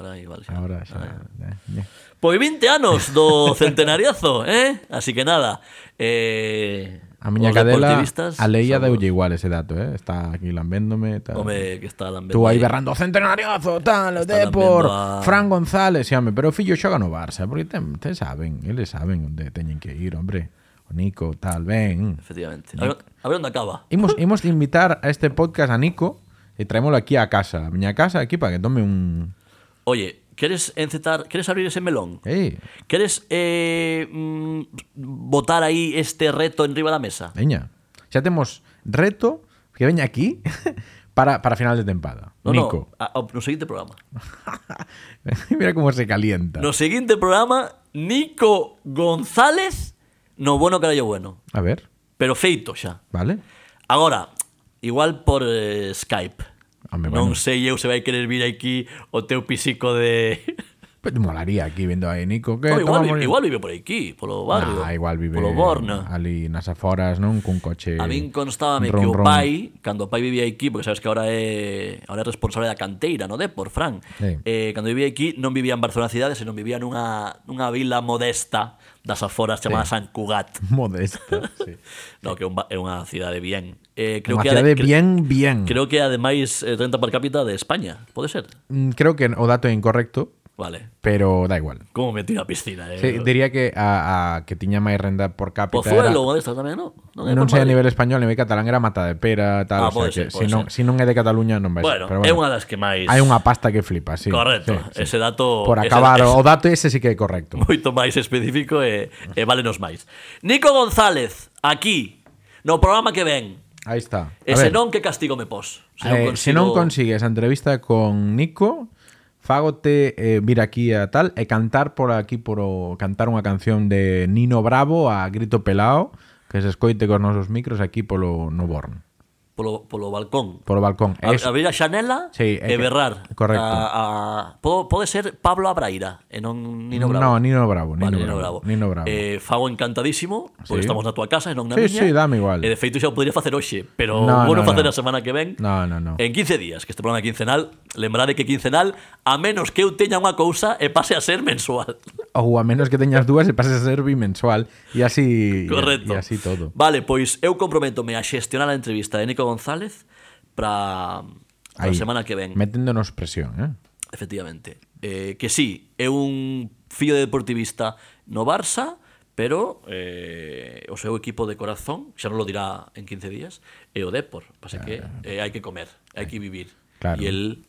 [SPEAKER 2] Ahora aí, vale. xa.
[SPEAKER 1] Agora xa...
[SPEAKER 2] Ah.
[SPEAKER 1] eh, eh. (laughs)
[SPEAKER 2] Pois 20 anos do centenariazo, eh? Así que nada, eh,
[SPEAKER 1] A miña
[SPEAKER 2] Os
[SPEAKER 1] cadela
[SPEAKER 2] deportivistas
[SPEAKER 1] a lei a
[SPEAKER 2] somos-
[SPEAKER 1] deulle igual ese dato, eh? Está aquí lambéndome, tal.
[SPEAKER 2] Home, que está lambendo
[SPEAKER 1] Tú aí
[SPEAKER 2] aí.
[SPEAKER 1] berrando centenariozo, tal, o
[SPEAKER 2] Está
[SPEAKER 1] Depor,
[SPEAKER 2] lambendo a-
[SPEAKER 1] Fran González, sí, home, pero o fillo xoga no Barça, porque ten, te saben, eles saben onde teñen que ir, hombre. O Nico, tal, ben.
[SPEAKER 2] Efectivamente. A ver, a ver onde acaba. (laughs)
[SPEAKER 1] Imos, imos de invitar a este podcast a Nico e traémolo aquí a casa, a miña casa, aquí para que tome un...
[SPEAKER 2] Oye, ¿quieres encetar, quieres abrir ese melón?
[SPEAKER 1] Ei,
[SPEAKER 2] ¿Quieres eh, mm, botar aí este reto enriba da mesa?
[SPEAKER 1] veña, xa temos reto que veña aquí (laughs) para, para final de tempada.
[SPEAKER 2] No,
[SPEAKER 1] Nico. (laughs)
[SPEAKER 2] no, a- ao- no seguinte programa.
[SPEAKER 1] Mira como se calienta.
[SPEAKER 2] No seguinte programa, Nico González no bueno carallo bueno.
[SPEAKER 1] A ver,
[SPEAKER 2] Pero feito xa.
[SPEAKER 1] vale.
[SPEAKER 2] Agora, igual por eh, Skype.
[SPEAKER 1] Home, bueno.
[SPEAKER 2] non sei eu se vai querer vir aquí o teu pisico
[SPEAKER 1] (laughs)
[SPEAKER 2] de...
[SPEAKER 1] Pero molaría aquí viendo a Nico que
[SPEAKER 2] No, igual,
[SPEAKER 1] tomamos-
[SPEAKER 2] vi- igual vive por aquí, polo barrio.
[SPEAKER 1] Ah, igual vive
[SPEAKER 2] Polo Borna.
[SPEAKER 1] ali nas aforas, non? Cun coche.
[SPEAKER 2] A min constábame
[SPEAKER 1] ron,
[SPEAKER 2] que o
[SPEAKER 1] ron.
[SPEAKER 2] pai, cando o pai vivía aquí, porque sabes que ahora é ahora é responsable da canteira, no de por Fran.
[SPEAKER 1] Sí.
[SPEAKER 2] Eh, cando vivía aquí non vivía en Barcelona cidade, senón vivía nunha nunha vila modesta das aforas chamada San Cugat.
[SPEAKER 1] (laughs) modesta, sí.
[SPEAKER 2] No, que é un ba- é unha cidade bien. Eh, creo
[SPEAKER 1] Unha
[SPEAKER 2] que é a de-
[SPEAKER 1] cidade
[SPEAKER 2] cre-
[SPEAKER 1] bien, bien. Creo...
[SPEAKER 2] Creo que é ademais eh, renta per cápita de España, pode ser.
[SPEAKER 1] Mm, creo que o dato é incorrecto,
[SPEAKER 2] Vale.
[SPEAKER 1] pero da igual.
[SPEAKER 2] Como me tira a piscina, eh.
[SPEAKER 1] Sí, diría que a, a que tiña máis renda por cápita era,
[SPEAKER 2] Pozuelo, unha destas tamén, non? é
[SPEAKER 1] non
[SPEAKER 2] por
[SPEAKER 1] sei a
[SPEAKER 2] Madrid.
[SPEAKER 1] nivel español, a nivel catalán era mata de pera, tal, o
[SPEAKER 2] Ah,
[SPEAKER 1] sea
[SPEAKER 2] pode ser,
[SPEAKER 1] que se
[SPEAKER 2] pode
[SPEAKER 1] non, se
[SPEAKER 2] ser.
[SPEAKER 1] non é de Cataluña non vai ser.
[SPEAKER 2] Bueno,
[SPEAKER 1] Pero
[SPEAKER 2] é
[SPEAKER 1] bueno,
[SPEAKER 2] unha das que máis
[SPEAKER 1] hai unha pasta que flipa, sí.
[SPEAKER 2] Correcto,
[SPEAKER 1] sí, sí.
[SPEAKER 2] ese dato
[SPEAKER 1] Por
[SPEAKER 2] ese-
[SPEAKER 1] acabar,
[SPEAKER 2] ese-
[SPEAKER 1] o dato ese sí que é correcto.
[SPEAKER 2] (laughs) moito máis específico e, e válenos máis. Nico González, aquí, no programa que ven.
[SPEAKER 1] Aí está. A
[SPEAKER 2] E
[SPEAKER 1] ver.
[SPEAKER 2] se non, que castigo me pos?
[SPEAKER 1] Eh, Se non consigues a entrevista con Nico, fágote eh, vir aquí a tal e cantar por aquí por o, cantar unha canción de Nino Bravo a grito pelao que se escoite cos nosos micros aquí polo no Born,
[SPEAKER 2] Polo, polo balcón.
[SPEAKER 1] polo balcón.
[SPEAKER 2] A,
[SPEAKER 1] Es-
[SPEAKER 2] Eh, abrir a xanela
[SPEAKER 1] Sí, é
[SPEAKER 2] e
[SPEAKER 1] que-
[SPEAKER 2] berrar.
[SPEAKER 1] correcto.
[SPEAKER 2] A, a, po- pode ser Pablo Abraira e non Nino
[SPEAKER 1] No,
[SPEAKER 2] Bravo.
[SPEAKER 1] Nino Bravo, Nino
[SPEAKER 2] Vale,
[SPEAKER 1] Bravo. Nino Bravo.
[SPEAKER 2] Eh, fago encantadísimo,
[SPEAKER 1] Sí.
[SPEAKER 2] porque estamos na tua casa e non na
[SPEAKER 1] Sí,
[SPEAKER 2] miña.
[SPEAKER 1] sí, dame igual.
[SPEAKER 2] E de feito xa o podría facer hoxe, pero
[SPEAKER 1] No,
[SPEAKER 2] bueno
[SPEAKER 1] no,
[SPEAKER 2] facer
[SPEAKER 1] no.
[SPEAKER 2] a semana que ven.
[SPEAKER 1] No, no, no.
[SPEAKER 2] En 15 días, que este programa é quincenal, lembrade que quincenal, a menos que eu teña unha cousa e pase a ser
[SPEAKER 1] (laughs)
[SPEAKER 2] mensual.
[SPEAKER 1] Ou a menos que teñas dúas e pases a ser bimensual e así e
[SPEAKER 2] Correcto.
[SPEAKER 1] así todo.
[SPEAKER 2] Vale, pois eu comprometome a xestionar a entrevista de Nico González para a
[SPEAKER 1] Aí,
[SPEAKER 2] semana que ven.
[SPEAKER 1] Meténdonos presión, eh?
[SPEAKER 2] Efectivamente. Eh, que sí, é un fillo de deportivista no Barça, pero eh, o seu equipo de corazón, xa non lo dirá en 15 días, é o Depor. Pasa que eh, hai que comer, hai que vivir.
[SPEAKER 1] Ah. Claro.
[SPEAKER 2] E el,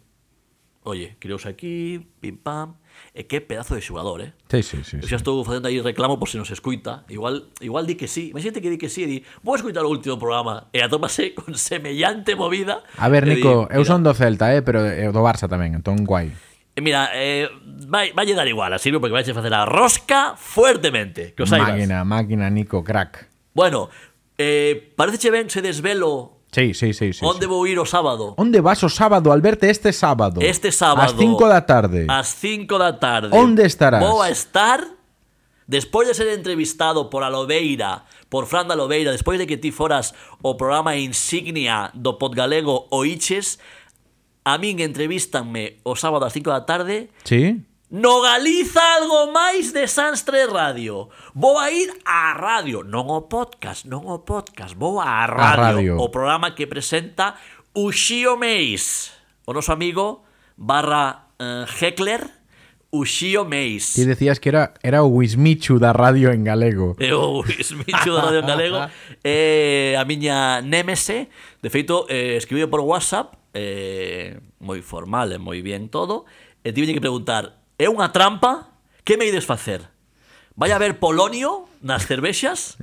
[SPEAKER 2] oye, crios aquí, pim pam, e que pedazo de xogador, eh?
[SPEAKER 1] Sí, sí, sí.
[SPEAKER 2] Eu
[SPEAKER 1] sí.
[SPEAKER 2] xa estou facendo aí reclamo por se nos escuita. Igual igual di que sí. Imagínate que di que sí e di, vou escutar o último programa e atómase con semellante movida.
[SPEAKER 1] A ver,
[SPEAKER 2] E di,
[SPEAKER 1] Nico, eu
[SPEAKER 2] mira,
[SPEAKER 1] son do Celta, eh, pero eh, do Barça tamén, entón guai.
[SPEAKER 2] eh, Mira, eh, vai, vai dar igual a Silvio porque vai a facer a rosca fuertemente. Que os saibas.
[SPEAKER 1] Máquina, máquina, Nico, crack.
[SPEAKER 2] Bueno, eh, parece che ben se desvelo
[SPEAKER 1] Sí, sí, sí, sí. sí.
[SPEAKER 2] onde vou ir o sábado.
[SPEAKER 1] Onde vas o sábado, Alberto, este sábado?
[SPEAKER 2] Este
[SPEAKER 1] Ás
[SPEAKER 2] sábado. Ah.
[SPEAKER 1] 5 da tarde.
[SPEAKER 2] Ás 5 da tarde.
[SPEAKER 1] Onde estarás?
[SPEAKER 2] Vou a estar despois de ser entrevistado por Alobeira, por Fran da Alobeira, despois de que ti foras o programa insignia do Podgalego Oiches, a min entrevistanme o sábado ás 5 da tarde
[SPEAKER 1] Sí?
[SPEAKER 2] No Galiza algo máis de Sans 3 Radio. Vou a ir á radio, non ao podcast, non ao podcast, vou á
[SPEAKER 1] radio.
[SPEAKER 2] radio, o programa que presenta Uxío Meis, o noso amigo barra eh, heckler Uxío Meis.
[SPEAKER 1] Ti decías que era, era o Wismichu da radio en galego.
[SPEAKER 2] É o Luis (laughs) Micho da Radio en Galego
[SPEAKER 1] (laughs)
[SPEAKER 2] É a miña némese De feito, eh, escribiu por WhatsApp eh, Moi formal e moi bien todo E tive que preguntar É unha trampa? Que me ides facer? Vai haber polonio nas cervexas?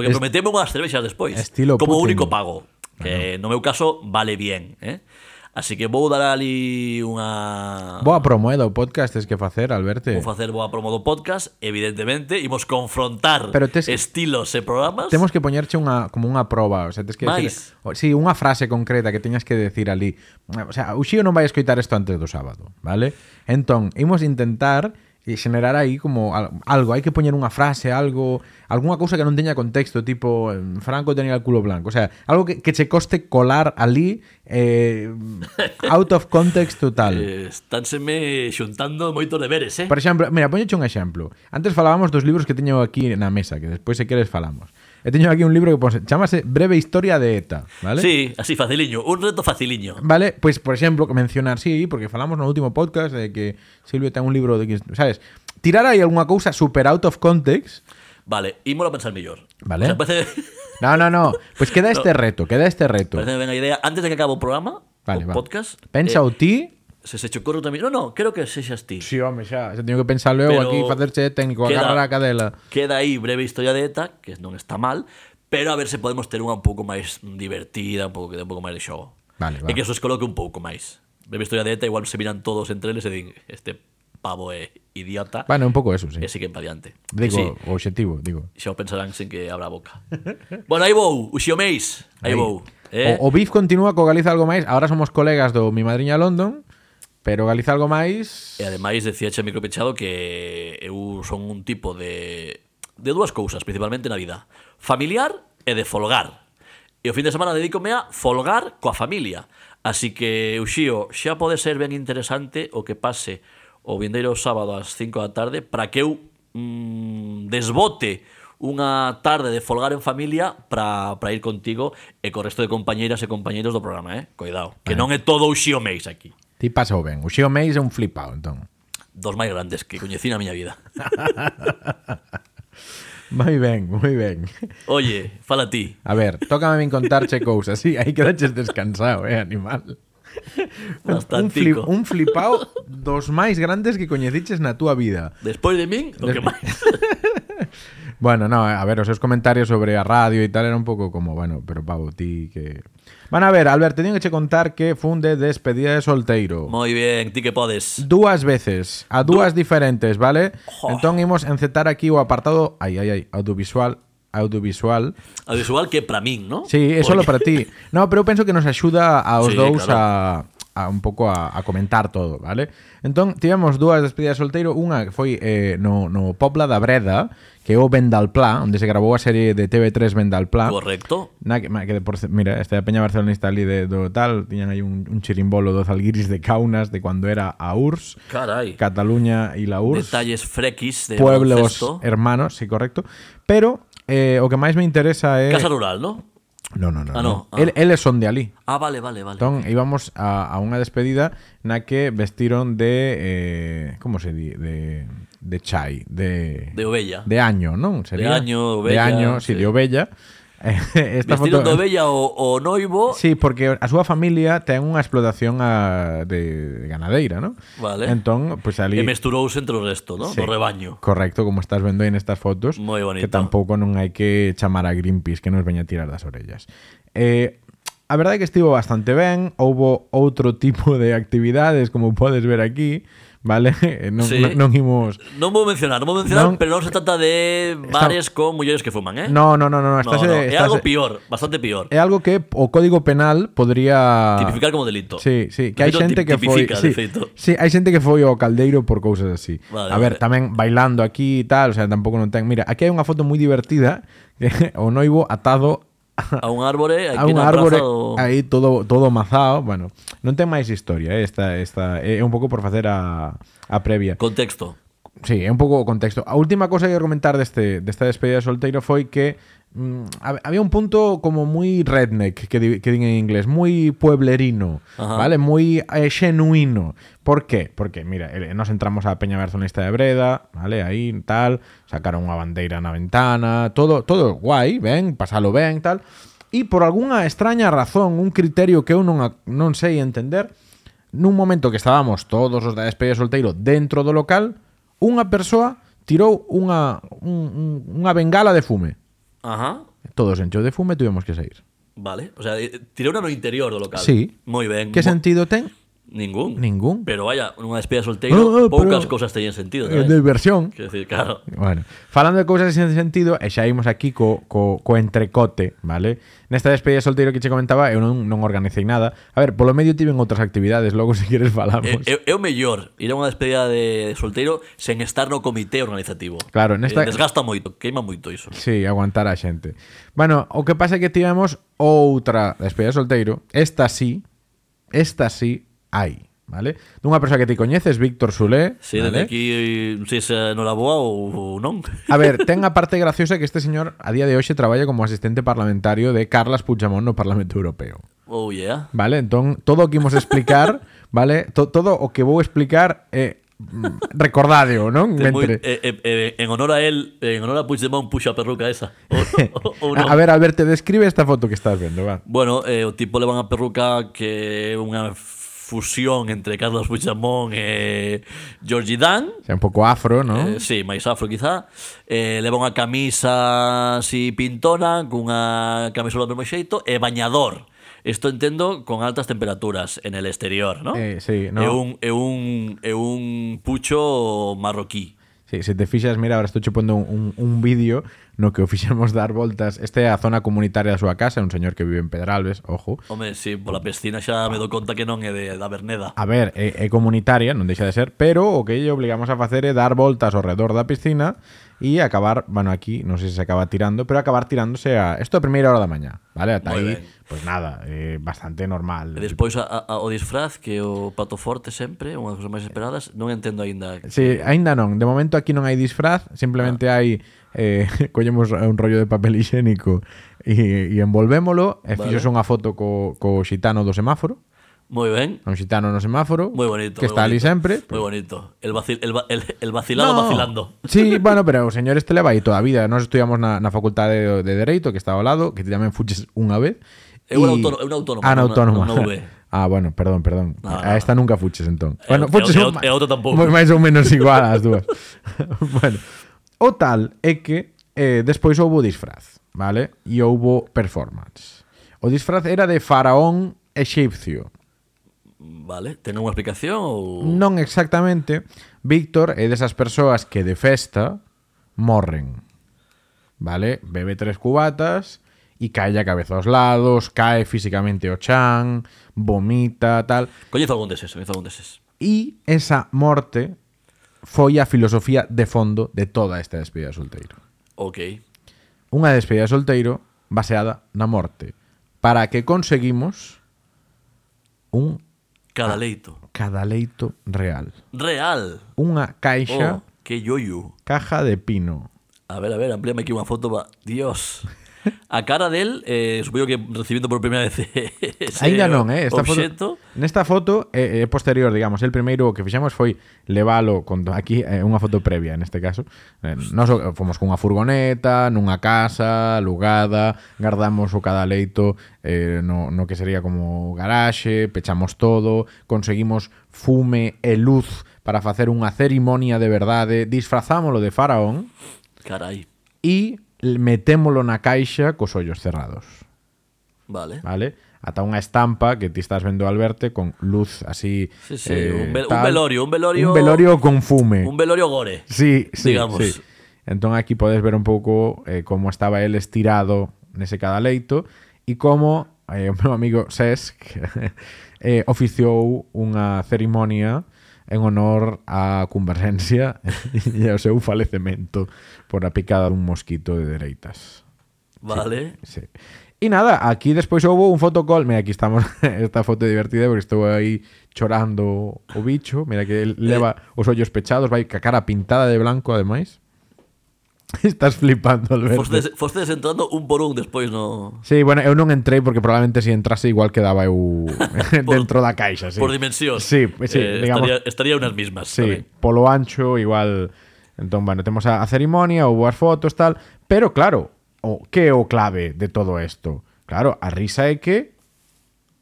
[SPEAKER 2] Porque
[SPEAKER 1] Es-
[SPEAKER 2] prometeme unhas cervexas despois
[SPEAKER 1] Estilo
[SPEAKER 2] Como
[SPEAKER 1] Putin.
[SPEAKER 2] único pago Que no meu caso vale bien eh? Así que vou dar ali unha
[SPEAKER 1] Boa promo, eh, do podcast tes que facer, Alberto.
[SPEAKER 2] Vou facer boa promo do podcast, evidentemente, imos confrontar
[SPEAKER 1] Pero tes-
[SPEAKER 2] estilos e programas.
[SPEAKER 1] Temos que poñerche unha como unha proba, o sea, tes que
[SPEAKER 2] Mais.
[SPEAKER 1] decir, o- sí, unha frase concreta que teñas que decir ali. O sea, o Xío non vai escoitar isto antes do sábado, vale? Entón, imos intentar e generar aí como al- algo, hai que poñer unha frase, algo, algunha cousa que non teña contexto, tipo em, Franco tenía el culo blanco, o sea, algo que, que che coste colar ali
[SPEAKER 2] (laughs)
[SPEAKER 1] eh, out of context total.
[SPEAKER 2] Eh, estánseme xuntando moitos deberes, eh?
[SPEAKER 1] Por exemplo, mira, poñeche un exemplo. Antes falábamos dos libros que teño aquí na mesa, que despois se queres falamos. He tenido aquí un libro que pone, chamase Breve Historia de ETA, ¿vale?
[SPEAKER 2] Sí, así, faciliño. Un reto faciliño.
[SPEAKER 1] Vale, pois, por exemplo, que mencionar, sí, porque falamos no último podcast de que Silvio ten un libro de que, sabes, tirar aí algunha cousa super out of context.
[SPEAKER 2] Vale, ímolo a pensar mellor.
[SPEAKER 1] Vale.
[SPEAKER 2] O sea,
[SPEAKER 1] (laughs)
[SPEAKER 2] parece,
[SPEAKER 1] No, no, no. Pois queda este reto, queda este reto.
[SPEAKER 2] parece ben a idea. Antes de que acabe o programa,
[SPEAKER 1] Vale,
[SPEAKER 2] o
[SPEAKER 1] va.
[SPEAKER 2] podcast,
[SPEAKER 1] Pensa
[SPEAKER 2] eh,
[SPEAKER 1] o ti.
[SPEAKER 2] se se chocou tamén. No, no, creo que sexas ti.
[SPEAKER 1] Si, sí, home, xa, xa teño que pensar logo
[SPEAKER 2] Pero
[SPEAKER 1] aquí facerche técnico,
[SPEAKER 2] queda-
[SPEAKER 1] agarrar a cadela.
[SPEAKER 2] Queda aí breve historia de ETA, que non está mal, pero a ver se podemos ter unha un pouco máis divertida, un pouco que dé un pouco máis de xogo.
[SPEAKER 1] Vale, va.
[SPEAKER 2] E que se os coloque un pouco máis. Breve historia de ETA, igual se miran todos entre eles e din, este pavo é idiota,
[SPEAKER 1] Bueno, un pouco eso, sí.
[SPEAKER 2] e siguen para diante.
[SPEAKER 1] Digo,
[SPEAKER 2] Sí,
[SPEAKER 1] o obxectivo, digo.
[SPEAKER 2] xa o pensarán sen que abra a boca. bueno, aí vou, o xiomeis, aí
[SPEAKER 1] Aí.
[SPEAKER 2] vou. Eh?
[SPEAKER 1] O, o BIF continúa co Galiza algo máis. Ahora somos colegas do Mi Madriña London, pero Galiza algo máis...
[SPEAKER 2] E ademais decía Che Micropechado que eu son un tipo de de dúas cousas, principalmente na vida. Familiar e de folgar. E o fin de semana dedícome a folgar coa familia. Así que, Uxío, xa pode ser ben interesante o que pase o vindeiro sábado ás 5 da tarde para que eu mm, desbote unha tarde de folgar en familia para para ir contigo e co resto de compañeiras e compañeiros do programa, eh? Coidado, que non é todo o Xío Meis aquí.
[SPEAKER 1] Ti pasou ben. O Xio Meis é un flipado, entón.
[SPEAKER 2] dos máis grandes que coñecí na miña vida.
[SPEAKER 1] Moi ben, moi ben.
[SPEAKER 2] Oye, fala ti.
[SPEAKER 1] (laughs) A ver, tócame ben contarche cousas. Sí, aí quedaches descansado, eh, animal. Un, flip,
[SPEAKER 2] Bastantico.
[SPEAKER 1] un flipao dos máis grandes que coñeciches na túa vida.
[SPEAKER 2] Despois de min, o que
[SPEAKER 1] Des-
[SPEAKER 2] máis.
[SPEAKER 1] Bueno, no, a ver, os seus comentarios sobre a radio e tal era un pouco como, bueno, pero pavo, ti que... Van a ver, Albert, teño que che contar que funde despedida de solteiro.
[SPEAKER 2] Moi ben, ti que podes.
[SPEAKER 1] Dúas veces, a dúas diferentes, vale?
[SPEAKER 2] Jo.
[SPEAKER 1] Entón imos encetar aquí o apartado, ai, ai, ai, audiovisual, audiovisual.
[SPEAKER 2] Audiovisual que é para min, non?
[SPEAKER 1] Sí, é solo para ti. No, pero eu penso que nos axuda aos
[SPEAKER 2] Sí,
[SPEAKER 1] dous
[SPEAKER 2] claro.
[SPEAKER 1] a, a un pouco a, a comentar todo, vale? Entón, tivemos dúas despedidas de solteiro, unha que foi eh, no, no Pobla da Breda, que é o Vendalplá, onde se grabou a serie de TV3 Vendalplá.
[SPEAKER 2] Correcto.
[SPEAKER 1] Na que, ma- que por, ce- mira, este da Peña Barcelonista ali de, do tal, tiñan aí un, un chirimbolo dos alguiris de Kaunas de cuando era a URSS.
[SPEAKER 2] Carai.
[SPEAKER 1] Cataluña y la URSS,
[SPEAKER 2] Detalles frequis de
[SPEAKER 1] pueblos eh,
[SPEAKER 2] baloncesto.
[SPEAKER 1] hermanos, sí, correcto. Pero eh, o que máis me interesa é...
[SPEAKER 2] Casa rural, non?
[SPEAKER 1] No, no, no.
[SPEAKER 2] Ah, no,
[SPEAKER 1] no.
[SPEAKER 2] ah.
[SPEAKER 1] El, eles son de Alí.
[SPEAKER 2] Ah, vale, vale, vale.
[SPEAKER 1] Entón, íbamos a, a unha despedida na que vestiron de... Eh, como se di? De, de chai, de...
[SPEAKER 2] De ovella.
[SPEAKER 1] de año, non? Sería?
[SPEAKER 2] año,
[SPEAKER 1] De
[SPEAKER 2] ovella,
[SPEAKER 1] año, sí,
[SPEAKER 2] sí.
[SPEAKER 1] de ovella. Eh, (laughs) Esta
[SPEAKER 2] Vestiron
[SPEAKER 1] foto...
[SPEAKER 2] de ovella o, o noivo.
[SPEAKER 1] Sí, porque a súa familia ten unha explotación a, de, de ganadeira, non?
[SPEAKER 2] Vale.
[SPEAKER 1] Entón, pois pues, ali...
[SPEAKER 2] E mesturouse entre o resto, non?
[SPEAKER 1] Sí.
[SPEAKER 2] Do rebaño.
[SPEAKER 1] Correcto, como estás vendo aí nestas fotos.
[SPEAKER 2] Moi bonito.
[SPEAKER 1] Que tampouco non hai que chamar a Greenpeace que nos veña a tirar das orellas. Eh, a verdade é que estivo bastante ben, houbo outro tipo de actividades, como podes ver aquí, vale? (laughs) Eh, Non,
[SPEAKER 2] Sí.
[SPEAKER 1] non, non imos...
[SPEAKER 2] Non vou mencionar, non vou mencionar,
[SPEAKER 1] Non.
[SPEAKER 2] pero non se trata de bares con mulleres que fuman, eh?
[SPEAKER 1] No, no, no, no,
[SPEAKER 2] no,
[SPEAKER 1] estás,
[SPEAKER 2] no. É
[SPEAKER 1] estás- Eh,
[SPEAKER 2] algo pior, bastante pior.
[SPEAKER 1] É algo que o Código Penal podría...
[SPEAKER 2] Tipificar como delito.
[SPEAKER 1] Sí, sí, que
[SPEAKER 2] De
[SPEAKER 1] hai
[SPEAKER 2] feito,
[SPEAKER 1] xente
[SPEAKER 2] tip-
[SPEAKER 1] que foi,
[SPEAKER 2] tipifica,
[SPEAKER 1] sí,
[SPEAKER 2] de feito.
[SPEAKER 1] sí, hai xente que foi ao caldeiro por cousas así.
[SPEAKER 2] Vale,
[SPEAKER 1] a ver,
[SPEAKER 2] vale.
[SPEAKER 1] tamén bailando aquí e tal, o sea, tampouco non ten. Mira, aquí hai unha foto moi divertida (laughs) que o noivo atado
[SPEAKER 2] A un árbore,
[SPEAKER 1] a
[SPEAKER 2] (laughs) aquí
[SPEAKER 1] un
[SPEAKER 2] na
[SPEAKER 1] árbore
[SPEAKER 2] praza do...
[SPEAKER 1] aí todo todo mazao, bueno, non ten máis historia, eh, esta esta é un pouco por facer a a previa.
[SPEAKER 2] Contexto.
[SPEAKER 1] Sí, é un pouco o contexto. A última cosa que quero comentar deste, desta despedida de solteiro foi que mm, hab- había un punto como moi redneck, que, di, que din en inglés, moi pueblerino,
[SPEAKER 2] Ajá.
[SPEAKER 1] vale? Moi eh, xenuino. Por qué? Porque, mira, eh, nos entramos a Peña Barzonista de Breda, vale? Aí, tal, sacaron unha bandeira na ventana, todo todo guai, ben, pasalo ben, tal. E por algunha extraña razón, un criterio que eu non, a- non sei entender, nun momento que estábamos todos os da despedida de solteiro dentro do local, unha persoa tirou unha, un, un, unha bengala de fume.
[SPEAKER 2] Ajá.
[SPEAKER 1] Todos encheu de fume e tuvemos que sair.
[SPEAKER 2] Vale, o sea, eh, tiré una no interior do local.
[SPEAKER 1] Sí.
[SPEAKER 2] Moi ben.
[SPEAKER 1] Que
[SPEAKER 2] Mo-
[SPEAKER 1] sentido ten?
[SPEAKER 2] Ningún.
[SPEAKER 1] Ningún.
[SPEAKER 2] Pero vaya, unha despedida solteiro,
[SPEAKER 1] Ah, ah,
[SPEAKER 2] poucas
[SPEAKER 1] pero-
[SPEAKER 2] cousas teñen sentido,
[SPEAKER 1] Eh,
[SPEAKER 2] non?
[SPEAKER 1] de
[SPEAKER 2] é?
[SPEAKER 1] diversión.
[SPEAKER 2] Quero
[SPEAKER 1] (laughs)
[SPEAKER 2] decir, claro.
[SPEAKER 1] Bueno, falando de cousas sen sentido, e xa imos aquí co, co, co entrecote, vale? Nesta despedida de solteiro que che comentaba, eu non, non organicei nada. A ver, polo medio tiven outras actividades, logo (laughs) se queres
[SPEAKER 2] É,
[SPEAKER 1] falamos.
[SPEAKER 2] é, é o mellor eh, ir a unha despedida de, de solteiro sen estar no comité organizativo.
[SPEAKER 1] Claro, nesta-
[SPEAKER 2] Eh, desgasta moito, queima moito iso.
[SPEAKER 1] Sí, aguantar a xente. Bueno, o que pasa é que tivemos outra despedida de solteiro. Esta sí, esta sí hai. vale? Dunha persoa que ti coñeces, Víctor Sulé,
[SPEAKER 2] Sí,
[SPEAKER 1] vale?
[SPEAKER 2] desde aquí, non sei se nos boa ou, ou non.
[SPEAKER 1] A ver, ten a parte graciosa que este señor a día de hoxe traballa como asistente parlamentario de Carlas Puigdemont no Parlamento Europeo.
[SPEAKER 2] Oh, yeah.
[SPEAKER 1] Vale, entón, todo o que imos explicar,
[SPEAKER 2] (laughs)
[SPEAKER 1] vale, to, todo o que vou explicar é mm, recordádeo, non?
[SPEAKER 2] Ten moi-
[SPEAKER 1] Mentre-
[SPEAKER 2] eh, eh, eh, en honor a él, en honor a Puigdemont, puxo a perruca
[SPEAKER 1] (laughs)
[SPEAKER 2] esa. O- eh, (laughs) o- ou non.
[SPEAKER 1] A, a ver, a ver, te describe esta foto que estás vendo, va.
[SPEAKER 2] Bueno, eh, o tipo leva unha perruca que é unha fusión entre Carlos Puigdemont e Georgie Dan.
[SPEAKER 1] O sea, un pouco afro, non?
[SPEAKER 2] Eh, sí, máis afro quizá eh, Leva unha camisa así pintona Cunha camisola do mesmo xeito E bañador Isto entendo con altas temperaturas en el exterior, ¿no?
[SPEAKER 1] Eh, sí, no.
[SPEAKER 2] É un, é un, é un pucho marroquí
[SPEAKER 1] Sí, se te fixas, mira, ahora estou chupando un, un, un vídeo no que o fixemos dar voltas. Esta é a zona comunitaria da súa casa, é un señor que vive en Pedralbes, ojo.
[SPEAKER 2] Home, sí, pola piscina xa me dou conta que non é de, da Berneda
[SPEAKER 1] A ver, é, é comunitaria, non deixa de ser, pero o que lle obligamos a facer é dar voltas ao redor da piscina e acabar, bueno, aquí, non sei se se acaba tirando, pero acabar tirándose a... Isto a primeira hora da mañá, vale? Ata
[SPEAKER 2] Moi
[SPEAKER 1] aí,
[SPEAKER 2] ben.
[SPEAKER 1] pois pues nada, eh, bastante normal.
[SPEAKER 2] E despois a, a, o disfraz que é o pato forte sempre, unha das cousas
[SPEAKER 1] Eh.
[SPEAKER 2] máis esperadas, non entendo aínda.
[SPEAKER 1] Sí, aínda non. De momento aquí non hai disfraz, simplemente
[SPEAKER 2] Ah.
[SPEAKER 1] hai eh, (laughs) collemos un rollo de papel higiénico e, e envolvémolo e
[SPEAKER 2] Vale.
[SPEAKER 1] fixos unha foto co, co xitano do semáforo,
[SPEAKER 2] Moi ben,
[SPEAKER 1] un xitano no semáforo
[SPEAKER 2] moi bonito.
[SPEAKER 1] que
[SPEAKER 2] moi
[SPEAKER 1] está ali
[SPEAKER 2] bonito,
[SPEAKER 1] sempre.
[SPEAKER 2] Moi bonito. El, vacil, el, va- el, el vacilado
[SPEAKER 1] No.
[SPEAKER 2] vacilando.
[SPEAKER 1] Sí, bueno, pero o señor este leva aí toda a vida. Nós estudiamos na, na facultade de, de Dereito, que estaba ao lado, que ti tamén fuches unha vez.
[SPEAKER 2] É
[SPEAKER 1] e-
[SPEAKER 2] unha autónoma- é unha autónoma,
[SPEAKER 1] Ah, na
[SPEAKER 2] non-
[SPEAKER 1] autónoma.
[SPEAKER 2] non- non ve.
[SPEAKER 1] (laughs) Ah, bueno, perdón, perdón.
[SPEAKER 2] No,
[SPEAKER 1] a
[SPEAKER 2] no,
[SPEAKER 1] esta nunca fuches, entón.
[SPEAKER 2] E
[SPEAKER 1] Bueno,
[SPEAKER 2] a-
[SPEAKER 1] fuches
[SPEAKER 2] e a-
[SPEAKER 1] un-
[SPEAKER 2] e a outra tampouco.
[SPEAKER 1] moi máis ou menos igual as dúas. (laughs) bueno, o tal é que eh, despois houbo disfraz, vale? E houbo performance. O disfraz era de faraón exipcio.
[SPEAKER 2] Vale, ten unha explicación ou
[SPEAKER 1] Non exactamente. Víctor é desas persoas que de festa morren. Vale? Bebe tres cubatas e cae a cabeza aos lados, cae físicamente o chan, vomita, tal.
[SPEAKER 2] Coñezo algún deses, coñezo algún deses.
[SPEAKER 1] E esa morte foi a filosofía de fondo de toda esta despedida de solteiro.
[SPEAKER 2] Ok.
[SPEAKER 1] Unha despedida de solteiro baseada na morte. Para que conseguimos un
[SPEAKER 2] Cada
[SPEAKER 1] Ah.
[SPEAKER 2] leito.
[SPEAKER 1] cadaleito real.
[SPEAKER 2] Real.
[SPEAKER 1] Unha caixa...
[SPEAKER 2] Oh, que yoyu.
[SPEAKER 1] Caja de pino.
[SPEAKER 2] A ver, a ver, amplíame aquí unha foto. Va. Dios. A cara del, eh, supoño que recibiendo por primeira vez (laughs) ese
[SPEAKER 1] Ainda non, eh? Esta
[SPEAKER 2] obxecto.
[SPEAKER 1] foto, nesta foto é, é posterior, digamos. El primeiro que fixemos foi levalo con, aquí é unha foto previa, neste caso. Eh, Nós o- fomos cunha furgoneta, nunha casa, alugada, guardamos o cada leito eh, no, no que sería como garaxe, pechamos todo, conseguimos fume e luz para facer unha cerimonia de verdade, disfrazámolo de faraón
[SPEAKER 2] Carai.
[SPEAKER 1] e metémolo na caixa cos ollos cerrados.
[SPEAKER 2] Vale.
[SPEAKER 1] vale? Ata unha estampa que ti estás vendo al verte con luz así eh,
[SPEAKER 2] Sí, sí, un ve- un velorio, un velorio-
[SPEAKER 1] un velorio con fume.
[SPEAKER 2] Un velorio gore.
[SPEAKER 1] sí, sí,
[SPEAKER 2] digamos.
[SPEAKER 1] sí. Entón aquí podes ver un pouco eh, como estaba el estirado nese cadaleito e como eh, o meu amigo Sesc (laughs) eh, oficiou unha cerimonia en honor á converxencia (laughs) e ao seu falecemento por a picada dun mosquito de dereitas.
[SPEAKER 2] Vale.
[SPEAKER 1] Sí. E nada, aquí despois houve un fotocall, mira, aquí estamos (laughs) esta foto é divertida porque estou aí chorando o bicho, mira que
[SPEAKER 2] Eh.
[SPEAKER 1] el leva os ollos pechados, vai ca cara pintada de blanco ademais. (laughs) Estás flipando, Alberto.
[SPEAKER 2] Fostes, fostes entrando un por un despois no...
[SPEAKER 1] Sí, bueno, eu non entrei porque probablemente se si entrase igual quedaba
[SPEAKER 2] (laughs)
[SPEAKER 1] eu (laughs) dentro da caixa, sí.
[SPEAKER 2] Por dimensión. Eh,
[SPEAKER 1] Sí, sí, digamos.
[SPEAKER 2] Estaría, estaría unas mismas.
[SPEAKER 1] Sí,
[SPEAKER 2] tamén.
[SPEAKER 1] polo ancho igual. Entón, bueno, temos a, a cerimonia, houbo as fotos, tal, pero claro, o que é o clave de todo isto? Claro, a risa é que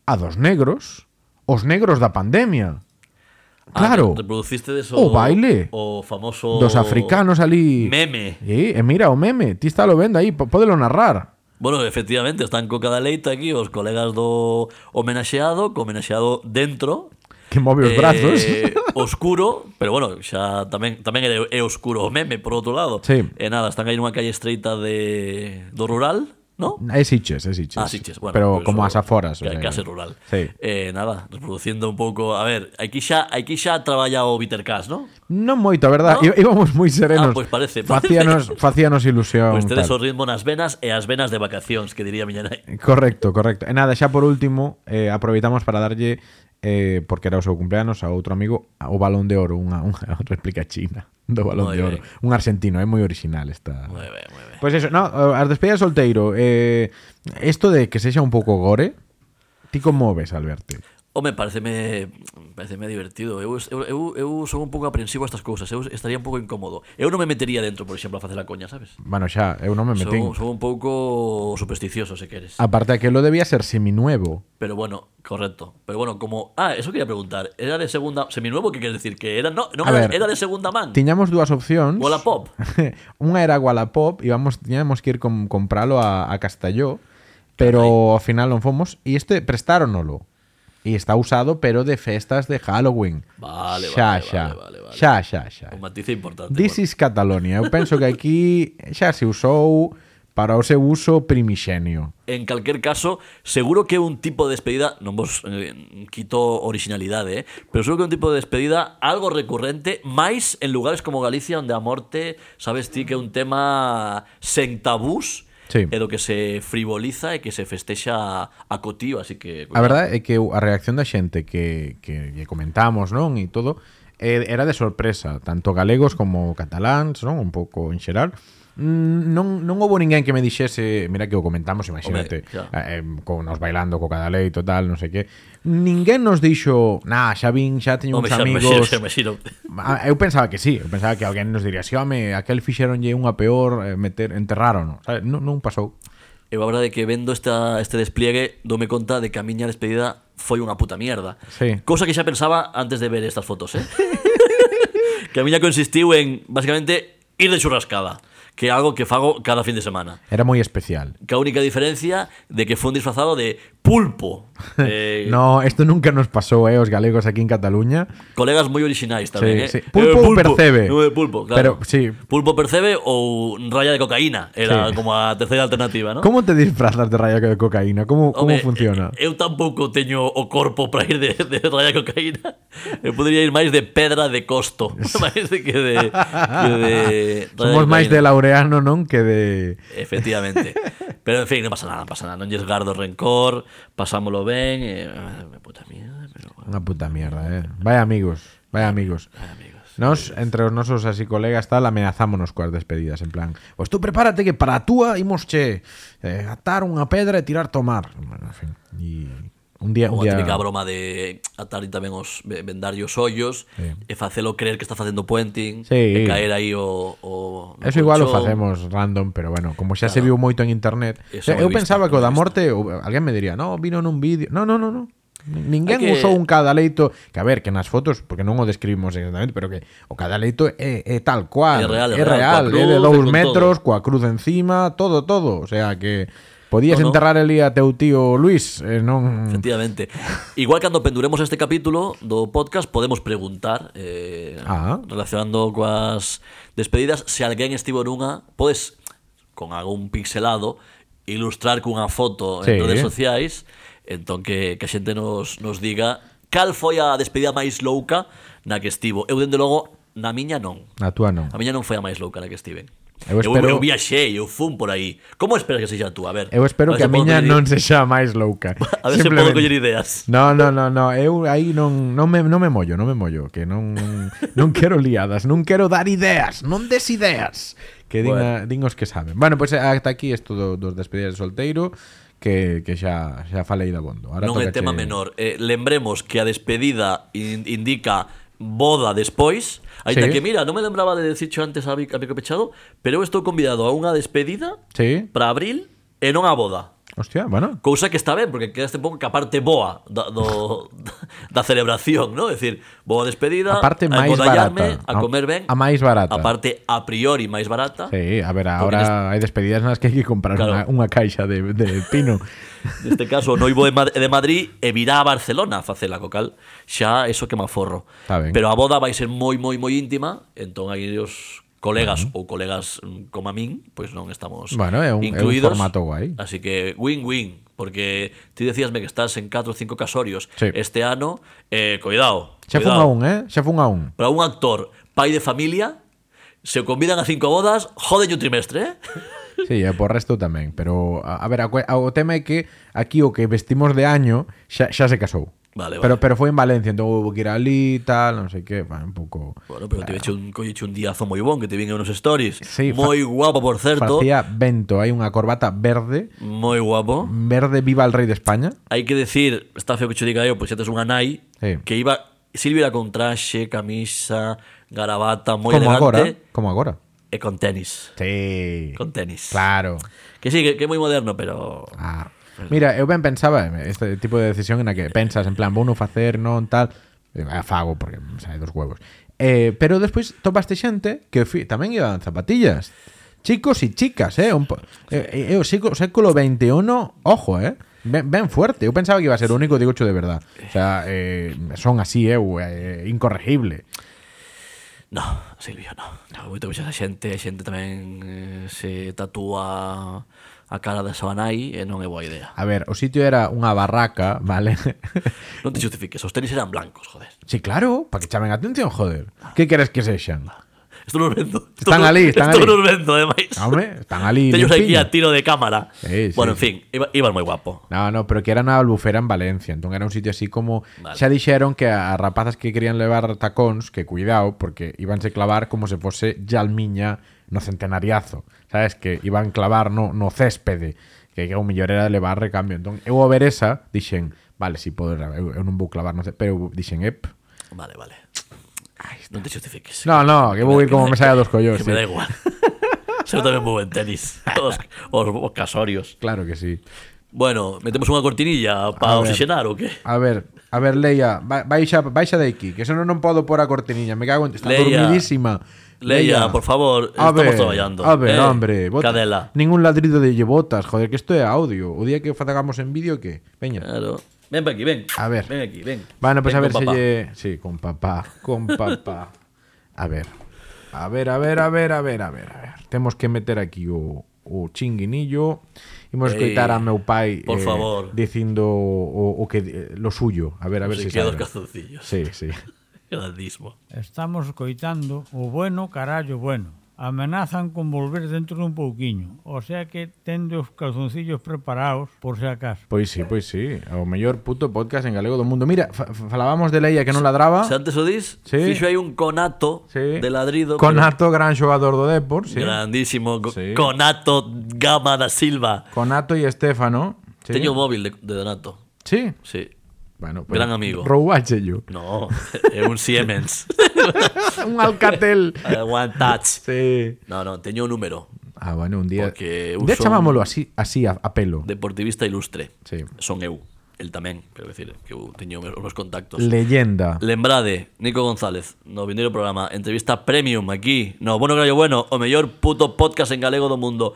[SPEAKER 1] a dos negros, os negros da pandemia. Claro.
[SPEAKER 2] Ah, reproduciste eso,
[SPEAKER 1] O baile.
[SPEAKER 2] O famoso...
[SPEAKER 1] Dos africanos ali.
[SPEAKER 2] Meme.
[SPEAKER 1] Sí, e mira o meme, ti está lo vendo aí, po- pódelo narrar.
[SPEAKER 2] Bueno, efectivamente, están co cada leito aquí os colegas do homenaxeado, co homenaxeado dentro.
[SPEAKER 1] Que move os
[SPEAKER 2] eh,
[SPEAKER 1] brazos.
[SPEAKER 2] (laughs) Oscuro, pero bueno, xa tamén tamén é, é oscuro o meme, por outro lado.
[SPEAKER 1] Sí.
[SPEAKER 2] E nada, están aí nunha calle estreita de, do rural, ¿no?
[SPEAKER 1] (laughs) É Sitges, é Sitges.
[SPEAKER 2] Ah, Sitges, bueno,
[SPEAKER 1] pero
[SPEAKER 2] pois
[SPEAKER 1] como
[SPEAKER 2] o-
[SPEAKER 1] as aforas. o
[SPEAKER 2] ca-
[SPEAKER 1] sea,
[SPEAKER 2] Case rural.
[SPEAKER 1] Sí.
[SPEAKER 2] Eh, nada, reproduciendo un pouco... A ver, aquí xa, aquí xa traballa o Bitter Cash, ¿no?
[SPEAKER 1] Non moito, a verdade,
[SPEAKER 2] ¿No?
[SPEAKER 1] no? íbamos moi serenos.
[SPEAKER 2] Ah, pois parece, parece.
[SPEAKER 1] Facíanos, facíanos ilusión.
[SPEAKER 2] Pois tedes
[SPEAKER 1] tal.
[SPEAKER 2] o ritmo nas venas e as venas de vacacións, que diría miña nai.
[SPEAKER 1] Correcto, correcto. E nada, xa por último, eh, aproveitamos para darlle eh, porque era o seu cumpleanos a outro amigo o balón de oro, unha, unha (laughs) réplica china do balón
[SPEAKER 2] Moi
[SPEAKER 1] de oro.
[SPEAKER 2] ben.
[SPEAKER 1] Un argentino, é moi original esta.
[SPEAKER 2] Moi ben, moi ben.
[SPEAKER 1] Pois pues eso, no, as despedidas de solteiro, eh, esto de que sexa un pouco gore, ti como ves, Alberto?
[SPEAKER 2] Home, pareceme, pareceme divertido. Eu, eu, eu, eu son un pouco aprensivo a estas cousas. Eu estaría un pouco incómodo. Eu non me metería dentro, por exemplo, a facer a coña, sabes?
[SPEAKER 1] Bueno, xa, eu non me Ah. metín.
[SPEAKER 2] Son, son un pouco supersticioso, se queres.
[SPEAKER 1] Aparte que lo debía ser seminuevo.
[SPEAKER 2] Pero bueno, correcto. Pero bueno, como... Ah, eso quería preguntar. ¿Era de segunda... Seminuevo, ¿qué quieres decir? Que era... No, no
[SPEAKER 1] A
[SPEAKER 2] era,
[SPEAKER 1] ver.
[SPEAKER 2] era de segunda man.
[SPEAKER 1] Tiñamos dúas opcións.
[SPEAKER 2] Wallapop.
[SPEAKER 1] (laughs) Unha era Wallapop, íbamos, tiñamos que ir com, compralo a, a Castelló, pero ao final non fomos, e este prestáronolo. E está usado, pero de festas de Halloween.
[SPEAKER 2] Vale,
[SPEAKER 1] xa,
[SPEAKER 2] vale,
[SPEAKER 1] xa,
[SPEAKER 2] vale, vale, vale.
[SPEAKER 1] xa, xa, xa.
[SPEAKER 2] Un matiz importante.
[SPEAKER 1] This is Catalonia. Eu penso que aquí xa se usou para o seu uso primixenio.
[SPEAKER 2] En calquer caso, seguro que un tipo de despedida, non vos eh, quito originalidade, eh, pero seguro que un tipo de despedida algo recurrente, máis en lugares como Galicia, onde a morte, sabes ti que é un tema sen tabús,
[SPEAKER 1] Sí.
[SPEAKER 2] é do que se frivoliza e que se festexa a cotío, así que...
[SPEAKER 1] A verdade é que a reacción da xente que, que lle comentamos, non, e todo, eh, era de sorpresa, tanto galegos como cataláns, non, un pouco en xeral. Mm, Non, non houbo ninguén que me dixese Mira que o comentamos, imagínate
[SPEAKER 2] Hombre, claro.
[SPEAKER 1] eh, con nos bailando co cada lei total, non sei que Ninguén nos dixo Nah, xa vin, xa teño uns
[SPEAKER 2] Home, xa (laughs) me
[SPEAKER 1] amigos
[SPEAKER 2] xiro, xa me xiro.
[SPEAKER 1] A- Eu pensaba que sí, eu pensaba que alguén nos diría, si, home, aquel fixeronlle unha peor, eh, meter, enterraron, sabes? Non, non pasou.
[SPEAKER 2] Eu a verdade que vendo esta, este despliegue dome conta de que a miña despedida foi unha puta mierda.
[SPEAKER 1] Sí.
[SPEAKER 2] Cosa que xa pensaba antes de ver estas fotos,
[SPEAKER 1] (laughs)
[SPEAKER 2] eh? que a miña consistiu en, basicamente, ir de churrascada. Que é algo que fago cada fin de semana.
[SPEAKER 1] Era moi especial.
[SPEAKER 2] Que a única diferencia de que fue un disfrazado de pulpo.
[SPEAKER 1] (laughs)
[SPEAKER 2] Eh,
[SPEAKER 1] No, esto nunca nos pasou, eh, os galegos aquí en Cataluña.
[SPEAKER 2] Colegas moi orixinais tamén,
[SPEAKER 1] Sí, sí.
[SPEAKER 2] eh?
[SPEAKER 1] Pulpo
[SPEAKER 2] Eh,
[SPEAKER 1] ou percebe?
[SPEAKER 2] No, eh, pulpo, claro.
[SPEAKER 1] Pero, sí.
[SPEAKER 2] Pulpo percebe ou raya de cocaína.
[SPEAKER 1] Sí.
[SPEAKER 2] Era como a terceira alternativa, ¿no?
[SPEAKER 1] Como te disfrazas de raya de cocaína? Como, como
[SPEAKER 2] Home,
[SPEAKER 1] funciona?
[SPEAKER 2] eh, Eu tampouco teño o corpo para ir de, de raya cocaína. Eu podría ir máis de pedra de
[SPEAKER 1] (laughs)
[SPEAKER 2] costo, máis de que de, que de eh, raya
[SPEAKER 1] Somos máis de
[SPEAKER 2] cocaína.
[SPEAKER 1] laureano, non? Que de...
[SPEAKER 2] Efectivamente. Pero en fin, non pasa nada, non pasa nada. Non lles gardo rencor, pasámolo ben, eh, me puta mierda, pero bueno,
[SPEAKER 1] Unha puta mierda, eh. Vaya amigos, vaya amigos.
[SPEAKER 2] amigos.
[SPEAKER 1] Nos, entre os nosos así colegas tal, amenazámonos coas despedidas, en plan Pois tú prepárate que para a túa imos che eh, atar unha pedra e tirar tomar bueno, en fin, e un día, un
[SPEAKER 2] Unha
[SPEAKER 1] día
[SPEAKER 2] típica broma de atar tamén os ve- vendar os ollos
[SPEAKER 1] Sí.
[SPEAKER 2] e facelo creer que está facendo puenting
[SPEAKER 1] Sí.
[SPEAKER 2] e caer aí o... o no
[SPEAKER 1] Eso igual o
[SPEAKER 2] colchón.
[SPEAKER 1] facemos random, pero bueno, como xa se viu moito en internet
[SPEAKER 2] Eso
[SPEAKER 1] Eu
[SPEAKER 2] moi
[SPEAKER 1] pensaba que
[SPEAKER 2] visto,
[SPEAKER 1] o da
[SPEAKER 2] moi
[SPEAKER 1] morte,
[SPEAKER 2] visto.
[SPEAKER 1] o, alguén me diría No, vino nun vídeo, no, no, no, no Ninguén
[SPEAKER 2] Hai que-
[SPEAKER 1] usou un cadaleito Que a ver, que nas fotos, porque non o describimos exactamente Pero que o cadaleito é, é tal cual
[SPEAKER 2] É real, é
[SPEAKER 1] é,
[SPEAKER 2] real,
[SPEAKER 1] real,
[SPEAKER 2] coa
[SPEAKER 1] é de
[SPEAKER 2] cruz,
[SPEAKER 1] dous
[SPEAKER 2] e con
[SPEAKER 1] metros coa cruz encima, todo, todo. O sea que podías
[SPEAKER 2] No, no.
[SPEAKER 1] enterrar ali a teu tío Luis, eh, non
[SPEAKER 2] Efectivamente. Igual cando penduremos este capítulo do podcast podemos preguntar eh,
[SPEAKER 1] Ah.
[SPEAKER 2] relacionando coas despedidas se alguén estivo nunha, podes con algún pixelado ilustrar cunha foto
[SPEAKER 1] Sí.
[SPEAKER 2] en redes sociais, entón que, que a xente nos, nos diga cal foi a despedida máis louca na que estivo. Eu dende logo na miña non.
[SPEAKER 1] a túa non.
[SPEAKER 2] A miña non foi a máis louca na que estiven.
[SPEAKER 1] Eu
[SPEAKER 2] Eu,
[SPEAKER 1] espero-
[SPEAKER 2] eu, viaxei, eu fun por aí. Como esperas que sexa a túa? A ver.
[SPEAKER 1] Eu espero que
[SPEAKER 2] ver se
[SPEAKER 1] a
[SPEAKER 2] podo
[SPEAKER 1] miña
[SPEAKER 2] coller- (laughs)
[SPEAKER 1] non sexa máis louca.
[SPEAKER 2] A ver se podo
[SPEAKER 1] Simplemente.
[SPEAKER 2] coller ideas.
[SPEAKER 1] No, no, no, no, eu aí non, non, me, non me mollo, non me mollo, que non non quero liadas, non quero dar ideas, non des ideas, que din, a, din os que saben. Bueno, pois pues, ata aquí isto do, dos despedidas de solteiro, que, que xa, xa falei da bondo. Ahora
[SPEAKER 2] non é
[SPEAKER 1] tócache-
[SPEAKER 2] tema menor. Eh, lembremos que a despedida in- indica boda despois. Aita
[SPEAKER 1] Sí.
[SPEAKER 2] que mira, non me lembraba de dicicho antes a, Vic- a Pico Pechado, pero eu estou convidado a unha despedida
[SPEAKER 1] Sí,
[SPEAKER 2] para abril e non a boda.
[SPEAKER 1] hostia, bueno.
[SPEAKER 2] Cousa que está ben, porque quedaste un pouco que a parte boa da, do, (laughs) da celebración, non? É dicir, boa despedida,
[SPEAKER 1] A parte máis
[SPEAKER 2] engordallarme,
[SPEAKER 1] barata.
[SPEAKER 2] a comer ben,
[SPEAKER 1] A máis barata.
[SPEAKER 2] a parte a priori máis barata,
[SPEAKER 1] Sí, a ver, ahora hai despedidas nas que hai que comprar
[SPEAKER 2] Claro.
[SPEAKER 1] unha, unha caixa de, de pino.
[SPEAKER 2] Neste caso, o noivo de, Mad- de Madrid e virá a Barcelona a facela, co cal xa eso que me aforro.
[SPEAKER 1] Está ben.
[SPEAKER 2] Pero a boda vai ser moi, moi, moi íntima, entón aí os colegas ou colegas mm, como a min, pois non estamos
[SPEAKER 1] Bueno, é un- é un
[SPEAKER 2] incluídos.
[SPEAKER 1] formato guai.
[SPEAKER 2] Así que win-win, porque ti decíasme que estás en 4 ou 5 casorios
[SPEAKER 1] Sí.
[SPEAKER 2] este ano, eh, cuidado,
[SPEAKER 1] Xa fun a
[SPEAKER 2] cuidado.
[SPEAKER 1] un, eh? Xa fun a un.
[SPEAKER 2] Para un actor, pai de familia, se o convidan a cinco bodas, joden un trimestre, eh?
[SPEAKER 1] Sí, e por resto tamén, pero a, a ver, a, cue- a- o tema é que aquí o que vestimos de año xa, xa se casou.
[SPEAKER 2] Vale, vale.
[SPEAKER 1] Pero, pero foi en Valencia, entón houve que ir ali, tal, non sei que, va, un pouco...
[SPEAKER 2] Bueno, pero te eche un, coñeche un diazo moi bon que te vin en unos stories.
[SPEAKER 1] Sí, fa-
[SPEAKER 2] moi guapo, por certo.
[SPEAKER 1] Facía vento, hai unha corbata verde,
[SPEAKER 2] Moi guapo.
[SPEAKER 1] verde viva el rei de España.
[SPEAKER 2] Hai que decir, está feo que che diga eu, pois xa tes unha nai
[SPEAKER 1] Sí.
[SPEAKER 2] que iba Silvia con traxe, camisa, garabata, moi
[SPEAKER 1] como agora,
[SPEAKER 2] elegante
[SPEAKER 1] como agora.
[SPEAKER 2] e con tenis.
[SPEAKER 1] Sí.
[SPEAKER 2] Con tenis.
[SPEAKER 1] Claro.
[SPEAKER 2] Que sí, que, que é moi moderno, pero
[SPEAKER 1] Ah. Mira, eu ben pensaba este tipo de decisión na que pensas en plan, vou non facer, non tal, Eh, ah, fago porque me sae dos huevos. Eh, pero despois topaste xente que fi, tamén iban zapatillas. Chicos e chicas, eh, un po, eh, eh, o século, século 21, ojo, eh. Ben, ben fuerte. Eu pensaba que iba a ser o único, digo de verdad. O sea, eh, son así, eh, ue, eh, incorregible.
[SPEAKER 2] No, Silvio, no. no. Moito que xa a xente, a xente tamén eh, se tatúa a cara da súa nai e non é boa idea.
[SPEAKER 1] A ver, o sitio era unha barraca, vale? (laughs)
[SPEAKER 2] Non te justifiques, os tenis eran blancos, joder.
[SPEAKER 1] Sí, claro, para que chamen atención, joder. Que queres que sexan?
[SPEAKER 2] Isto non os vendo.
[SPEAKER 1] (laughs) Están ali, están
[SPEAKER 2] Isto
[SPEAKER 1] ali.
[SPEAKER 2] non os vendo, ademais. (laughs)
[SPEAKER 1] Home, están ali
[SPEAKER 2] Teños aquí
[SPEAKER 1] limpiños.
[SPEAKER 2] a tiro de cámara.
[SPEAKER 1] Sí, sí.
[SPEAKER 2] bueno, en fin, iba, iban moi guapo.
[SPEAKER 1] No, no, pero que era na albufera en Valencia Entón era un sitio así como
[SPEAKER 2] Vale.
[SPEAKER 1] Xa dixeron que a, a rapazas que querían levar tacóns Que cuidado, porque íbanse clavar como se fose Yalmiña no centenariazo Sabes, que iban clavar no, no céspede Que, que o mellor era levar recambio Entón eu ao ver esa, dixen Vale, si podo, eu, eu non vou clavar no céspede Pero dixen, ep
[SPEAKER 2] Vale, vale. Non te justifiques.
[SPEAKER 1] No, no, que vou ir como me saia dos collos
[SPEAKER 2] (laughs) Que me da
[SPEAKER 1] sí.
[SPEAKER 2] igual. Se eu tamén vou en
[SPEAKER 1] (laughs)
[SPEAKER 2] tenis. Os, os, os casorios.
[SPEAKER 1] Claro que sí
[SPEAKER 2] Bueno, metemos unha cortinilla
[SPEAKER 1] A
[SPEAKER 2] para
[SPEAKER 1] ver.
[SPEAKER 2] oxigenar o que?
[SPEAKER 1] A ver, a ver, Leia, ba- baixa, baixa de aquí, que eso non, non podo por a cortiniña, me cago en... Está
[SPEAKER 2] Leia,
[SPEAKER 1] dormidísima.
[SPEAKER 2] Leia, por favor,
[SPEAKER 1] a
[SPEAKER 2] estamos
[SPEAKER 1] ver,
[SPEAKER 2] traballando.
[SPEAKER 1] A ver,
[SPEAKER 2] Eh,
[SPEAKER 1] hombre, bota-
[SPEAKER 2] cadela.
[SPEAKER 1] Ningún ladrido de llevotas, joder, que isto é audio. O día que facamos en vídeo, que? Veña.
[SPEAKER 2] Claro. Ven para aquí, ven.
[SPEAKER 1] A ver.
[SPEAKER 2] Ven aquí, ven.
[SPEAKER 1] Bueno, pues
[SPEAKER 2] Ven
[SPEAKER 1] a ver
[SPEAKER 2] con
[SPEAKER 1] se
[SPEAKER 2] papá.
[SPEAKER 1] lle... Sí, con papá, con papá. A ver. A ver, a ver, a ver, a ver, a ver, a ver. Temos que meter aquí o, o chinguinillo. Imos
[SPEAKER 2] Ei,
[SPEAKER 1] escoitar a meu pai eh,
[SPEAKER 2] por favor.
[SPEAKER 1] dicindo o, o que eh, lo suyo. A ver, a ver
[SPEAKER 2] Se
[SPEAKER 1] se,
[SPEAKER 2] quedan os
[SPEAKER 1] sabe.
[SPEAKER 2] calzoncillos.
[SPEAKER 1] Sí, sí.
[SPEAKER 2] Grandísimo.
[SPEAKER 4] Estamos coitando o bueno carallo bueno. Amenazan con volver dentro dun pouquiño, o sea que tende os calzoncillos preparados por se acaso.
[SPEAKER 1] Pois sí, pois sí, o mellor puto podcast en galego do mundo. Mira, fa- fa- falábamos de Leia que non ladraba.
[SPEAKER 2] Se antes o dis,
[SPEAKER 1] Ah. Sí.
[SPEAKER 2] fixo aí un conato
[SPEAKER 1] Sí.
[SPEAKER 2] de ladrido. pero
[SPEAKER 1] Conato, gran xogador do Depor, sí.
[SPEAKER 2] Grandísimo. co-
[SPEAKER 1] Sí.
[SPEAKER 2] Conato Gama da Silva.
[SPEAKER 1] Conato e Estefano. Sí.
[SPEAKER 2] Teño o móvil de, de Donato.
[SPEAKER 1] Sí.
[SPEAKER 2] Sí.
[SPEAKER 1] Bueno,
[SPEAKER 2] Gran amigo.
[SPEAKER 1] Roubáchelo.
[SPEAKER 2] No, (laughs) é un
[SPEAKER 1] (laughs)
[SPEAKER 2] Siemens.
[SPEAKER 1] Un Alcatel.
[SPEAKER 2] Eh, One touch.
[SPEAKER 1] (laughs) sí.
[SPEAKER 2] No, no, teño o número.
[SPEAKER 1] Ah, bueno, un día.
[SPEAKER 2] Porque
[SPEAKER 1] un día
[SPEAKER 2] uso-
[SPEAKER 1] chamámoslo así, así a, a pelo.
[SPEAKER 2] Deportivista ilustre.
[SPEAKER 1] Sí.
[SPEAKER 2] Son E eu. El tamén, quero decir, que eu teño os meus contactos.
[SPEAKER 1] Leyenda.
[SPEAKER 2] Lembrade, Nico González, no vindeiro programa, entrevista premium aquí, no Bueno Gallo Bueno, o mellor puto podcast en galego do mundo.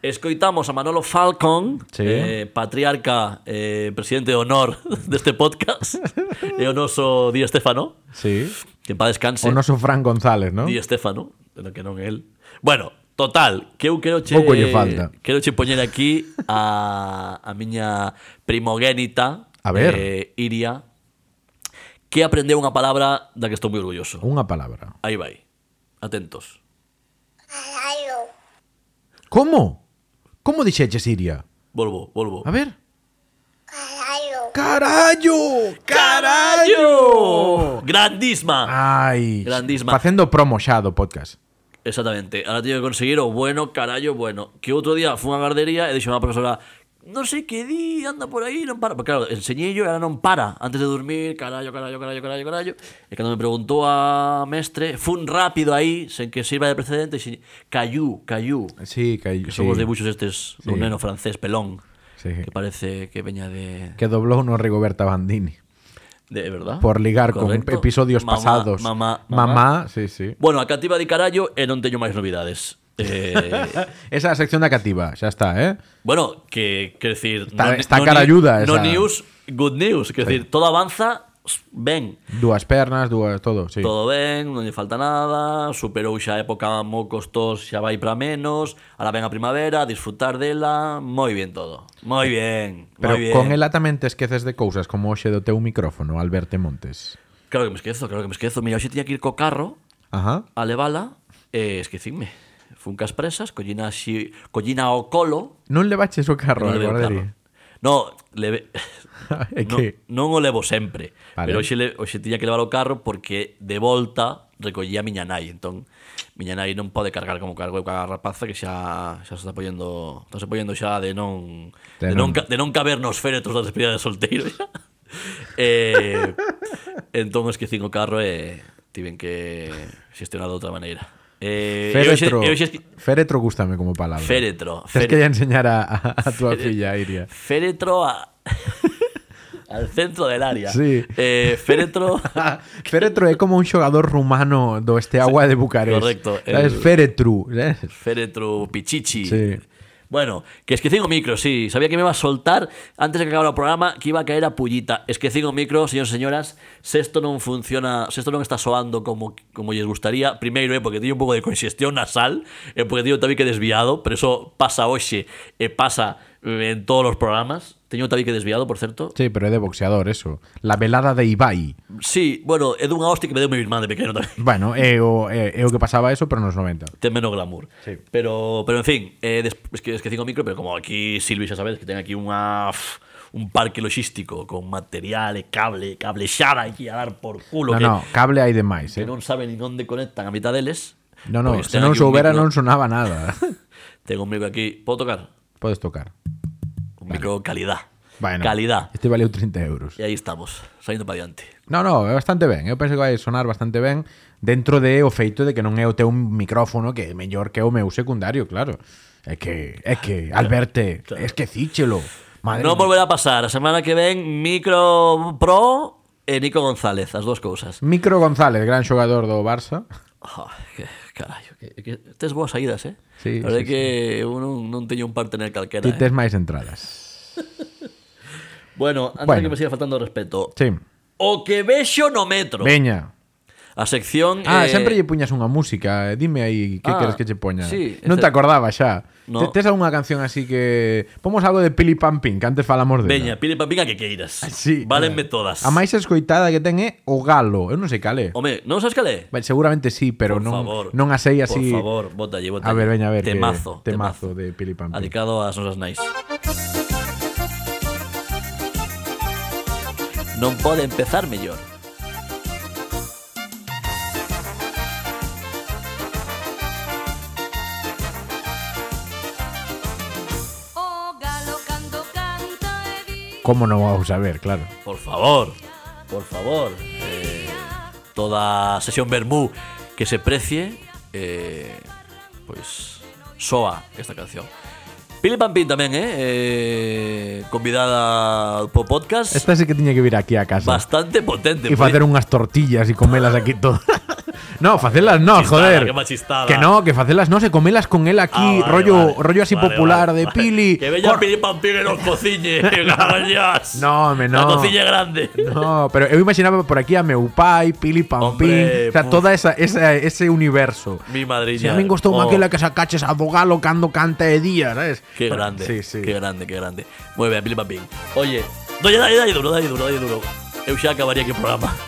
[SPEAKER 2] Escoitamos a Manolo Falcon,
[SPEAKER 1] Sí.
[SPEAKER 2] eh, patriarca, eh, presidente de honor (laughs) deste podcast, e o noso Di Estefano,
[SPEAKER 1] Sí.
[SPEAKER 2] que pa
[SPEAKER 1] O
[SPEAKER 2] descanse,
[SPEAKER 1] noso Fran González, ¿no?
[SPEAKER 2] Di Estefano, pero que non é el. Bueno, total, que eu quero che,
[SPEAKER 1] Pouco lle falta.
[SPEAKER 2] quero che poñer aquí a, a miña primogénita,
[SPEAKER 1] A ver.
[SPEAKER 2] eh, Iria, que aprendeu unha palabra da que estou moi orgulloso.
[SPEAKER 1] Unha palabra.
[SPEAKER 2] Aí vai. Atentos.
[SPEAKER 5] Aló,
[SPEAKER 1] Como? Como dixeche Siria?
[SPEAKER 2] Volvo, volvo.
[SPEAKER 1] A ver.
[SPEAKER 5] aló,
[SPEAKER 1] Carallo!
[SPEAKER 2] Carallo!
[SPEAKER 1] Ah.
[SPEAKER 2] Grandísima.
[SPEAKER 1] Ai,
[SPEAKER 2] Grandísima.
[SPEAKER 1] facendo promo xa do podcast.
[SPEAKER 2] Exactamente. Ahora teño que conseguir o bueno, carallo, bueno. Que outro día fui a unha gardería e dixo a profesora non sei que di, anda por aí, non para. Porque claro, enseñei e ela non para antes de dormir, carallo, carallo, carallo, carallo, carallo. E cando me preguntou a mestre, fun rápido aí, sen que sirva de precedente, dixen, cayú, cayú.
[SPEAKER 1] Sí, que,
[SPEAKER 2] Que
[SPEAKER 1] sí.
[SPEAKER 2] son os dibuxos estes dun
[SPEAKER 1] Sí.
[SPEAKER 2] neno francés pelón.
[SPEAKER 1] Sí.
[SPEAKER 2] Que parece que veña de...
[SPEAKER 1] que doblou no Rigoberta Bandini
[SPEAKER 2] De verdad.
[SPEAKER 1] por ligar
[SPEAKER 2] Correcto.
[SPEAKER 1] con episodios
[SPEAKER 2] Mamá,
[SPEAKER 1] pasados.
[SPEAKER 2] Mamá,
[SPEAKER 1] mamá.
[SPEAKER 2] mamá.
[SPEAKER 1] sí, sí.
[SPEAKER 2] Bueno, a cativa de carallo e non teño máis novidades.
[SPEAKER 1] (laughs)
[SPEAKER 2] Eh,
[SPEAKER 1] Esa é a sección da cativa, xa está, eh?
[SPEAKER 2] bueno, que, quer decir...
[SPEAKER 1] Está- está caralluda
[SPEAKER 2] No
[SPEAKER 1] esa.
[SPEAKER 2] news, good news. Quer decir, todo avanza, s- ben.
[SPEAKER 1] Dúas pernas, dúas todo, sí.
[SPEAKER 2] Todo ben, non lle falta nada, superou xa a época mocos tos, xa vai para menos, ahora ven a primavera, disfrutar dela, moi ben todo. Moi ben,
[SPEAKER 1] Pero
[SPEAKER 2] moi ben.
[SPEAKER 1] con ela tamén te esqueces de cousas como hoxe do teu micrófono, Alberto Montes.
[SPEAKER 2] Claro que me esquezo, claro que me esquezo. Mira, hoxe tiña que ir co carro,
[SPEAKER 1] Ajá.
[SPEAKER 2] a levala e esquecinme. Fun cas presas, collina, así, collina ao colo.
[SPEAKER 1] Non le baches o carro,
[SPEAKER 2] non
[SPEAKER 1] no
[SPEAKER 2] levei o carro. No, (laughs) leve...
[SPEAKER 1] (laughs) É
[SPEAKER 2] no,
[SPEAKER 1] que-
[SPEAKER 2] non o levo sempre,
[SPEAKER 1] Vale.
[SPEAKER 2] vale. pero hoxe, le, hoxe tiña que levar o carro porque de volta recollía a miña nai, entón miña nai non pode cargar como cargo eu ca rapaza que xa xa se está poñendo, está se poñendo xa de non
[SPEAKER 1] De
[SPEAKER 2] de, de non,
[SPEAKER 1] non.
[SPEAKER 2] ca- de non caber nos féretros da despedida de solteiro.
[SPEAKER 1] (laughs)
[SPEAKER 2] xa. eh, entón esquecín o carro e tiven que xestionar de outra maneira. Eh, e hoxe-
[SPEAKER 1] Féretro.
[SPEAKER 2] e hoxe esque-
[SPEAKER 1] Féretro gústame como palabra.
[SPEAKER 2] Féretro,
[SPEAKER 1] Tens
[SPEAKER 2] féretro.
[SPEAKER 1] que lle enseñar a, a, a tua filla,
[SPEAKER 2] (laughs)
[SPEAKER 1] Iria.
[SPEAKER 2] féretro a- (laughs) al centro del área.
[SPEAKER 1] Sí.
[SPEAKER 2] Eh,
[SPEAKER 1] (laughs)
[SPEAKER 2] féretro
[SPEAKER 1] Féretro é como un xogador rumano do este agua de Bucarest.
[SPEAKER 2] correcto,
[SPEAKER 1] Es ¿eh?
[SPEAKER 2] el-
[SPEAKER 1] Féretru, sabes?
[SPEAKER 2] Féretro Pichichi.
[SPEAKER 1] Sí.
[SPEAKER 2] Bueno, que esquecín o micro, sí. Sabía que me iba a soltar antes de que acabara o programa que iba a caer a pullita. Esquecín o micro, señores e señoras, se isto non funciona, se isto non está soando como como lles gustaría, primeiro é porque teño un pouco de congestión nasal, e porque teño tamén que desviado, pero eso pasa hoxe e pasa eh, en todos os programas. Teño un tabique desviado, por certo.
[SPEAKER 1] Sí, pero é de boxeador, eso. La velada de Ibai.
[SPEAKER 2] Sí, bueno, é dunha hostia que me deu meu irmán de pequeno tamén.
[SPEAKER 1] Bueno, é o, é, é o que pasaba eso, pero nos 90.
[SPEAKER 2] ten menos glamour.
[SPEAKER 1] Sí.
[SPEAKER 2] Pero, pero en fin, eh, des- es que esquecín o micro, pero como aquí Silvi xa sabes que ten aquí unha f- un parque logístico con material e cable, cable xara aquí a dar por culo
[SPEAKER 1] No,
[SPEAKER 2] que,
[SPEAKER 1] no, cable hai demais, eh.
[SPEAKER 2] que non saben nin onde conectan a mitad deles.
[SPEAKER 1] No, no,
[SPEAKER 2] pois
[SPEAKER 1] se
[SPEAKER 2] ten
[SPEAKER 1] non
[SPEAKER 2] aquí pues un
[SPEAKER 1] soubera non
[SPEAKER 2] micro-
[SPEAKER 1] sonaba nada. (laughs)
[SPEAKER 2] Ten un micro aquí, podo tocar?
[SPEAKER 1] Podes tocar.
[SPEAKER 2] Un micro calidad.
[SPEAKER 1] Bueno,
[SPEAKER 2] Calidad.
[SPEAKER 1] Este valeu 30 euros.
[SPEAKER 2] E aí estamos, saindo para diante.
[SPEAKER 1] No, no, é bastante ben. Eu penso que vai sonar bastante ben dentro de o feito de que non é o teu micrófono que é mellor que o meu secundario, claro. É que, é que, Alberte,
[SPEAKER 2] claro.
[SPEAKER 1] esquecíchelo. Madre
[SPEAKER 2] non
[SPEAKER 1] mía.
[SPEAKER 2] volverá a pasar, a semana que ven micro pro e Nico González, as dúas cousas.
[SPEAKER 1] Micro González, gran xogador do Barça.
[SPEAKER 2] Oh, que, carallo, que, que tes boas saídas, eh?
[SPEAKER 1] Sí,
[SPEAKER 2] a verdade
[SPEAKER 1] sí,
[SPEAKER 2] que eu non, non teño un partener calquera.
[SPEAKER 1] Ti
[SPEAKER 2] Eh?
[SPEAKER 1] tes máis entradas.
[SPEAKER 2] Bueno, antes
[SPEAKER 1] Bueno.
[SPEAKER 2] de que me siga faltando o respeto.
[SPEAKER 1] Sí.
[SPEAKER 2] O que vexo no metro.
[SPEAKER 1] Veña.
[SPEAKER 2] A sección...
[SPEAKER 1] Ah,
[SPEAKER 2] eh,
[SPEAKER 1] sempre lle puñas unha música. eh, Dime aí que
[SPEAKER 2] Ah,
[SPEAKER 1] queres que che poña.
[SPEAKER 2] sí,
[SPEAKER 1] non
[SPEAKER 2] este-
[SPEAKER 1] te acordaba xa.
[SPEAKER 2] No.
[SPEAKER 1] Te- Tes algunha canción así que Pomos algo de Pili Pampín, que antes falamos de.
[SPEAKER 2] Veña, pide papinga que queiras.
[SPEAKER 1] Sí.
[SPEAKER 2] Válenme todas.
[SPEAKER 1] A máis escoitada que ten é O Galo. Eu non sei cal é.
[SPEAKER 2] Home, non sabes cal é?
[SPEAKER 1] Vale, Seguramente sí, pero
[SPEAKER 2] Por
[SPEAKER 1] non,
[SPEAKER 2] favor.
[SPEAKER 1] non a sei así.
[SPEAKER 2] Por favor, botalle, botalle.
[SPEAKER 1] A ver, veña, a ver. que-
[SPEAKER 2] Temazo.
[SPEAKER 1] temazo, de Pili Pampín.
[SPEAKER 2] Adicado ás nosas nais. Non pode empezar mellor.
[SPEAKER 6] O galo cando canta e di
[SPEAKER 1] Como non vamos a ver, claro.
[SPEAKER 2] Por favor, por favor. Eh, toda sesión Bermú que se precie, eh, pois soa esta canción. Pili Pampín tamén, eh? eh convidada po podcast.
[SPEAKER 1] Esta sí que tiña que vir aquí a casa.
[SPEAKER 2] bastante potente.
[SPEAKER 1] E facer unhas tortillas e comelas
[SPEAKER 2] (laughs)
[SPEAKER 1] aquí todo. No, facelas no,
[SPEAKER 2] Machistada,
[SPEAKER 1] joder.
[SPEAKER 2] que machistada.
[SPEAKER 1] Que no, que facelas no, se comelas con él aquí,
[SPEAKER 2] Ah, vale,
[SPEAKER 1] rollo,
[SPEAKER 2] vale.
[SPEAKER 1] rollo así
[SPEAKER 2] Vale,
[SPEAKER 1] popular
[SPEAKER 2] vale,
[SPEAKER 1] de
[SPEAKER 2] vale.
[SPEAKER 1] Pili.
[SPEAKER 2] Que veña
[SPEAKER 1] Cor-
[SPEAKER 2] Pili Pampín e nos
[SPEAKER 1] (laughs)
[SPEAKER 2] cociñe. Gracias.
[SPEAKER 1] No, home,
[SPEAKER 2] La
[SPEAKER 1] no.
[SPEAKER 2] cociña é grande.
[SPEAKER 1] No, pero eu imaginaba por aquí a meu pai, Pili Pampín,
[SPEAKER 2] Hombre,
[SPEAKER 1] o sea,
[SPEAKER 2] puf.
[SPEAKER 1] toda esa, esa ese universo.
[SPEAKER 2] Mi madriña.
[SPEAKER 1] Si a min gostou oh.
[SPEAKER 2] Oh.
[SPEAKER 1] aquela que sacaches a do galo cando canta e día, sabes?
[SPEAKER 2] Qué grande,
[SPEAKER 1] Sí, sí.
[SPEAKER 2] qué grande, qué grande. Muy bien, Pili Pampín. Oye, dolle, dalle, dalle duro, dalle duro, dalle duro. Eu xa acabaría aquí o programa. (laughs)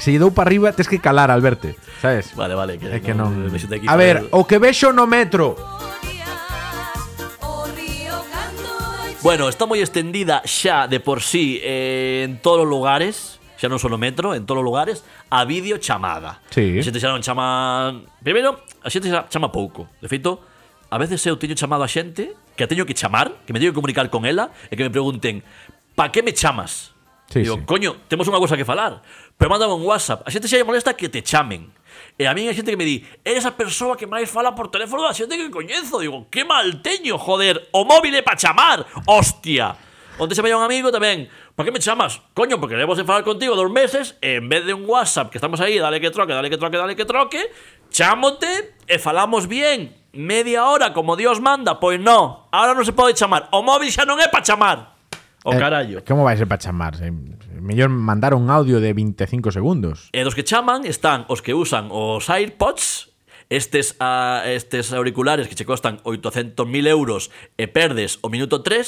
[SPEAKER 1] Se lle dou para arriba, tes que calar al verte, sabes?
[SPEAKER 2] Vale, vale. Que
[SPEAKER 1] É que non.
[SPEAKER 2] me xente aquí
[SPEAKER 1] A
[SPEAKER 2] para-
[SPEAKER 1] ver, o que vexo no metro.
[SPEAKER 6] follas, o río cando e
[SPEAKER 2] Bueno, está moi extendida xa de por sí eh, en todos os lugares, xa non só no metro, en todos os lugares, a videochamada.
[SPEAKER 1] Sí.
[SPEAKER 2] A xente xa non chama... Primeiro, a xente xa chama pouco. De feito, a veces eu teño chamado a xente que a teño que chamar, que me teño que comunicar con ela, e que me pregunten, pa que me chamas?
[SPEAKER 1] Sí, sí.
[SPEAKER 2] Digo, coño, temos unha cosa que falar, pero mándame un WhatsApp. A xente xa lle molesta que te chamen. E a mí hai xente que me di, eres a persoa que máis fala por teléfono da xente que coñezo. Digo, que mal teño, joder, o móvil é pa chamar, hostia. Onte se me un amigo tamén, pa que me chamas? Coño, porque debemos de falar contigo dos meses, e en vez de un WhatsApp que estamos aí, dale que troque, dale que troque, dale que troque, chámote e falamos bien. Media hora, como Dios manda, pois no, ahora non se pode chamar. O móvil xa non é pa chamar. Oh, O
[SPEAKER 1] Eh,
[SPEAKER 2] carallo.
[SPEAKER 1] Como vai ser para chamar? Eh, Mellor mandar un audio de 25 segundos.
[SPEAKER 2] E dos que chaman están os que usan os AirPods, estes, a, estes auriculares que che costan 800.000 euros e perdes o minuto 3,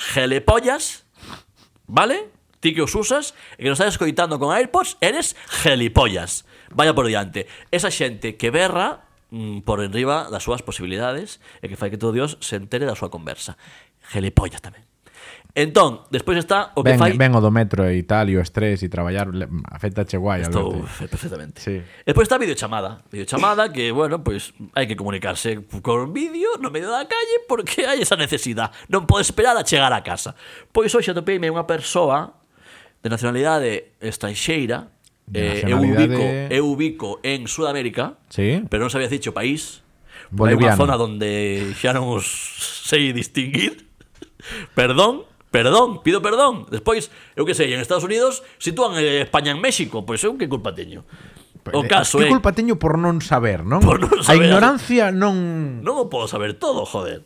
[SPEAKER 2] gelepollas, vale? Ti que os usas e que nos estás escoitando con AirPods, eres gelipollas. Vaya por diante. Esa xente que berra mm, por enriba das súas posibilidades e que fai que todo Dios se entere da súa conversa. Gelipollas tamén. Entón, despois está o que
[SPEAKER 1] ben,
[SPEAKER 2] fai...
[SPEAKER 1] ben o do metro e tal, e o estrés e traballar le- afecta che guai,
[SPEAKER 2] Estou
[SPEAKER 1] Alberto.
[SPEAKER 2] perfectamente.
[SPEAKER 1] Sí.
[SPEAKER 2] Despois está a videochamada. Videochamada que, bueno, pois pues, hai que comunicarse con vídeo no medio da calle porque hai esa necesidade. Non podes esperar a chegar a casa. Pois hoxe atopeime unha persoa de nacionalidade estranxeira
[SPEAKER 1] De
[SPEAKER 2] eh, eu, ubico,
[SPEAKER 1] nacionalidade-
[SPEAKER 2] eu ubico en Sudamérica
[SPEAKER 1] Sí.
[SPEAKER 2] pero non sabía dicho país Porque Hai
[SPEAKER 1] Boliviano.
[SPEAKER 2] unha zona donde xa non os (laughs) sei distinguir Perdón, perdón, pido perdón. Despois, eu que sei, en Estados Unidos sitúan eh, España en México, pois eu que culpa teño. O caso
[SPEAKER 1] Eh, que
[SPEAKER 2] eh. é,
[SPEAKER 1] Pues, culpa teño por non saber, non?
[SPEAKER 2] Por non
[SPEAKER 1] A
[SPEAKER 2] saber.
[SPEAKER 1] ignorancia non...
[SPEAKER 2] non o podo saber todo, joder.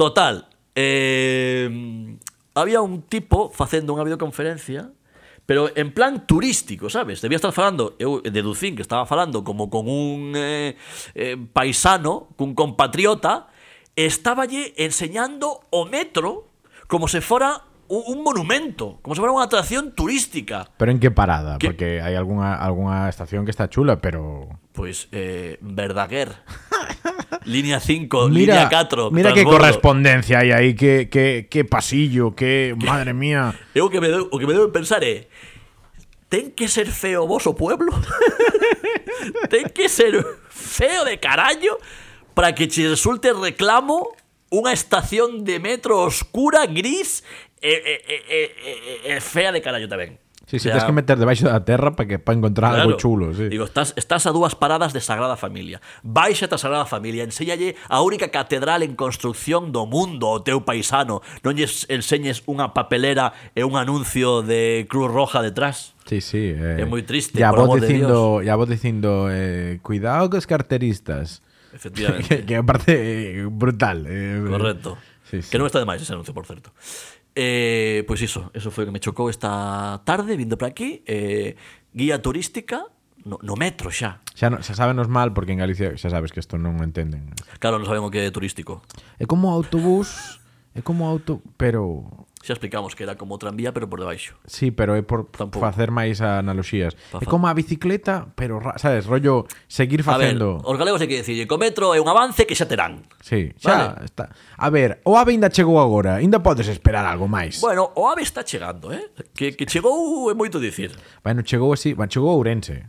[SPEAKER 2] Total, eh, había un tipo facendo unha videoconferencia Pero en plan turístico, sabes? Debía estar falando, eu deducín que estaba falando como con un eh, eh, paisano, cun compatriota, e estáballe enseñando o metro como se fora un, un monumento, como se fora unha atracción turística.
[SPEAKER 1] Pero en que parada?
[SPEAKER 2] Que-
[SPEAKER 1] Porque hai algunha, algunha estación que está chula, pero...
[SPEAKER 2] Pois, eh,
[SPEAKER 1] (laughs)
[SPEAKER 2] Verdaguer. línea 5,
[SPEAKER 1] Mira,
[SPEAKER 2] línea 4.
[SPEAKER 1] Oh, mira que
[SPEAKER 2] transbordo.
[SPEAKER 1] correspondencia hai aí, que, que, que pasillo, que... Madre (laughs) mía.
[SPEAKER 2] Eu o que me deu, o que me deu pensar é Ten que ser feo vos o pueblo (laughs) Ten que ser feo de carallo Para que che resulte reclamo Unha estación de metro oscura, gris E, e, e, e, e- e fea de carallo tamén
[SPEAKER 1] Sí, sí,
[SPEAKER 2] O sea,
[SPEAKER 1] tens que meter debaixo da terra para que para encontrar algo
[SPEAKER 2] Claro.
[SPEAKER 1] chulo, sí.
[SPEAKER 2] Digo, estás, estás a dúas paradas de Sagrada Familia. Baixa a Sagrada Familia, enséñalle a única catedral en construcción do mundo ao teu paisano. Non lles enseñes unha papelera e un anuncio de Cruz Roja detrás.
[SPEAKER 1] Sí, sí. eh,
[SPEAKER 2] É moi triste,
[SPEAKER 1] E a
[SPEAKER 2] por
[SPEAKER 1] vos
[SPEAKER 2] amor de
[SPEAKER 1] dicindo, e a vos dicindo eh, cuidado cos carteristas.
[SPEAKER 2] Efectivamente.
[SPEAKER 1] (laughs) Que, que aparte eh, brutal. eh,
[SPEAKER 2] Correcto.
[SPEAKER 1] Sí, sí.
[SPEAKER 2] Que non está de máis ese anuncio, por certo. Eh, pois iso, eso foi o que me chocou esta tarde vindo para aquí, eh, guía turística no, no metro xa.
[SPEAKER 1] Xa, no, xa sabenos mal porque en Galicia xa sabes que isto non o entenden.
[SPEAKER 2] Claro, non saben o que é turístico.
[SPEAKER 1] É como autobús, é como auto, pero
[SPEAKER 2] Xa explicamos que era como tranvía pero por debaixo.
[SPEAKER 1] Sí, pero é por
[SPEAKER 2] Tampouco.
[SPEAKER 1] facer máis analogías.
[SPEAKER 2] Pa
[SPEAKER 1] É
[SPEAKER 2] fa-
[SPEAKER 1] como a bicicleta, pero, ra- sabes, rollo seguir
[SPEAKER 2] A ver,
[SPEAKER 1] facendo.
[SPEAKER 2] os galegos hai que dicirlle, co metro é un avance que xa terán.
[SPEAKER 1] Sí, xa
[SPEAKER 2] Vale.
[SPEAKER 1] está. A ver, o AVE ainda chegou agora, ainda podes esperar algo máis. Bueno,
[SPEAKER 2] Bueno, o ave está chegando, eh? Que, que chegou é moito dicir.
[SPEAKER 1] chegou así, bueno, chegou a Ourense.